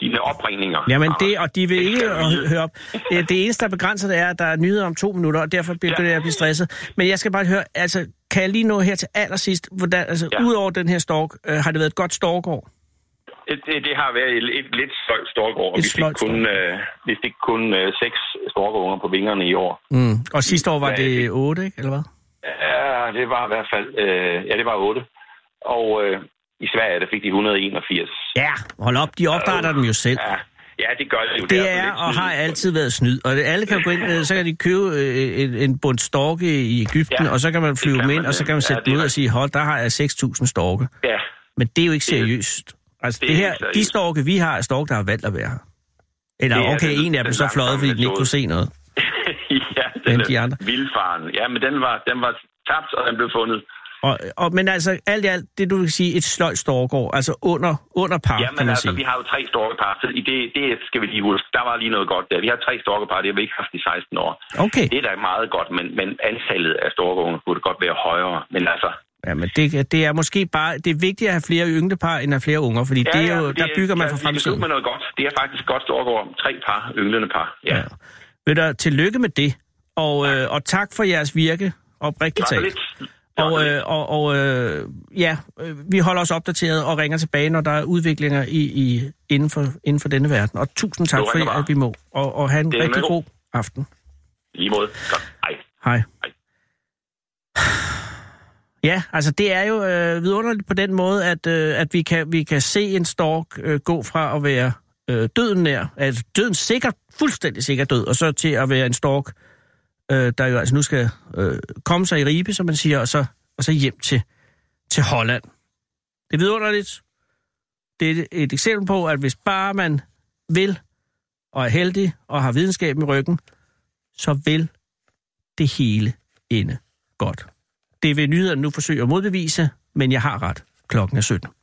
Speaker 8: dine opringninger.
Speaker 4: Jamen det,
Speaker 8: og...
Speaker 4: og de vil
Speaker 8: Det
Speaker 4: ikke
Speaker 8: skal vi vide.
Speaker 4: hø- høre op. Det det eneste, der begrænser det, er, at der er nyheder om to minutter, og derfor begynder jeg at blive stresset. Men jeg skal bare høre, altså, kan jeg lige nå her til allersidst, hvordan, altså,
Speaker 8: Ja.
Speaker 4: ja. udover den her stork, øh, har det været et godt storkår?
Speaker 8: Det, det, det har været et, et lidt sløjt storkår,
Speaker 4: Et
Speaker 8: og vi fik
Speaker 4: sløjt
Speaker 8: kun, øh, vi fik kun øh, seks storkeunger på vingerne i år.
Speaker 4: Mm. Og sidste år var
Speaker 8: Ja,
Speaker 4: det otte, ikke? Eller hvad?
Speaker 8: Ja, det var i hvert fald, øh, ja, det var otte. Og øh, i Sverige, der fik de 181.
Speaker 4: Ja, hold op, de opdater dem jo selv.
Speaker 8: Ja, ja det gør det jo.
Speaker 4: Det
Speaker 8: sådan
Speaker 4: er
Speaker 8: lidt
Speaker 4: og har
Speaker 8: snyde.
Speaker 4: altid været snyd. Og det- alle kan jo gå ind, øh, så kan de købe øh, en, en bund storke i Ægypten,
Speaker 8: Ja,
Speaker 4: ja, og så kan man
Speaker 8: det
Speaker 4: flyve
Speaker 8: kan
Speaker 4: dem ind,
Speaker 8: man,
Speaker 4: og så kan
Speaker 8: ja,
Speaker 4: man sætte
Speaker 8: det
Speaker 4: dem
Speaker 8: er
Speaker 4: ud og
Speaker 8: rigtigt.
Speaker 4: sige, hold, der har jeg 6.000 storke.
Speaker 8: Ja,
Speaker 4: Men det er jo ikke
Speaker 8: Det-
Speaker 4: seriøst. Altså
Speaker 8: det
Speaker 4: det,
Speaker 8: er
Speaker 4: det her,
Speaker 8: ikke seriøst.
Speaker 4: de storke, vi har, er storke, der har valgt at være her. Eller
Speaker 8: Det er
Speaker 4: okay,
Speaker 8: den-
Speaker 4: en af
Speaker 8: den
Speaker 4: dem så
Speaker 8: langt
Speaker 4: fløjet, fordi
Speaker 8: gamle
Speaker 4: den ikke kunne se noget.
Speaker 8: ja den
Speaker 4: Men
Speaker 8: er
Speaker 4: de andre?
Speaker 8: vildfaren. Ja, men den var, den var tabt, og den blev fundet.
Speaker 4: Og, og, men altså, alt i alt, det du vil sige, et sløjt storkår, altså under, under par,
Speaker 8: Jamen
Speaker 4: kan man
Speaker 8: altså,
Speaker 4: sige.
Speaker 8: vi har jo tre storkepar, så i det, det skal vi lige huske. Der var lige noget godt der. Vi har tre storkepar, det har vi ikke haft i 16 år.
Speaker 4: Okay,
Speaker 8: Det er da meget godt, men, men antallet af storkeunger kunne det godt være højere. Men altså,
Speaker 4: Jamen, det, det er måske bare, det er vigtigt at have flere ynglepar, end at have flere unger, fordi ja, det er jo, der bygger man for
Speaker 8: Vi skal
Speaker 4: fremtiden.
Speaker 8: ud med noget godt. Det er faktisk godt storkeår. Tre par, ynglende par. Ja. ja.
Speaker 4: Ved du, tillykke med det, og, øh, og tak for jeres virke, oprigtigt
Speaker 8: Tak for
Speaker 4: talt.
Speaker 8: lidt.
Speaker 4: Og, øh, og, og øh, ja, øh, vi holder os opdateret og ringer tilbage, når der er udviklinger i, i, inden, for, inden for denne verden. Og tusind tak
Speaker 8: Du ringer
Speaker 4: for,
Speaker 8: bare.
Speaker 4: at vi må. Og, og have en
Speaker 8: Det er
Speaker 4: rigtig
Speaker 8: med.
Speaker 4: god aften.
Speaker 8: Lige måde. Godt. Ej.
Speaker 4: Hej.
Speaker 8: Hej.
Speaker 4: Ja, altså det er jo øh, vidunderligt på den måde, at, øh, at vi, kan, vi kan se en stork øh, gå fra at være øh, døden nær, altså døden sikker, fuldstændig sikker død, og så til at være en stork, øh, der jo altså nu skal øh, komme sig i ribe, som man siger, og så, og så hjem til, til Holland. Det er vidunderligt. Det er et, et eksempel på, at hvis bare man vil, og er heldig, og har videnskab i ryggen, så vil det hele ende godt. Det vil nyhederne nu forsøge at modbevise, men jeg har ret. Klokken er 17.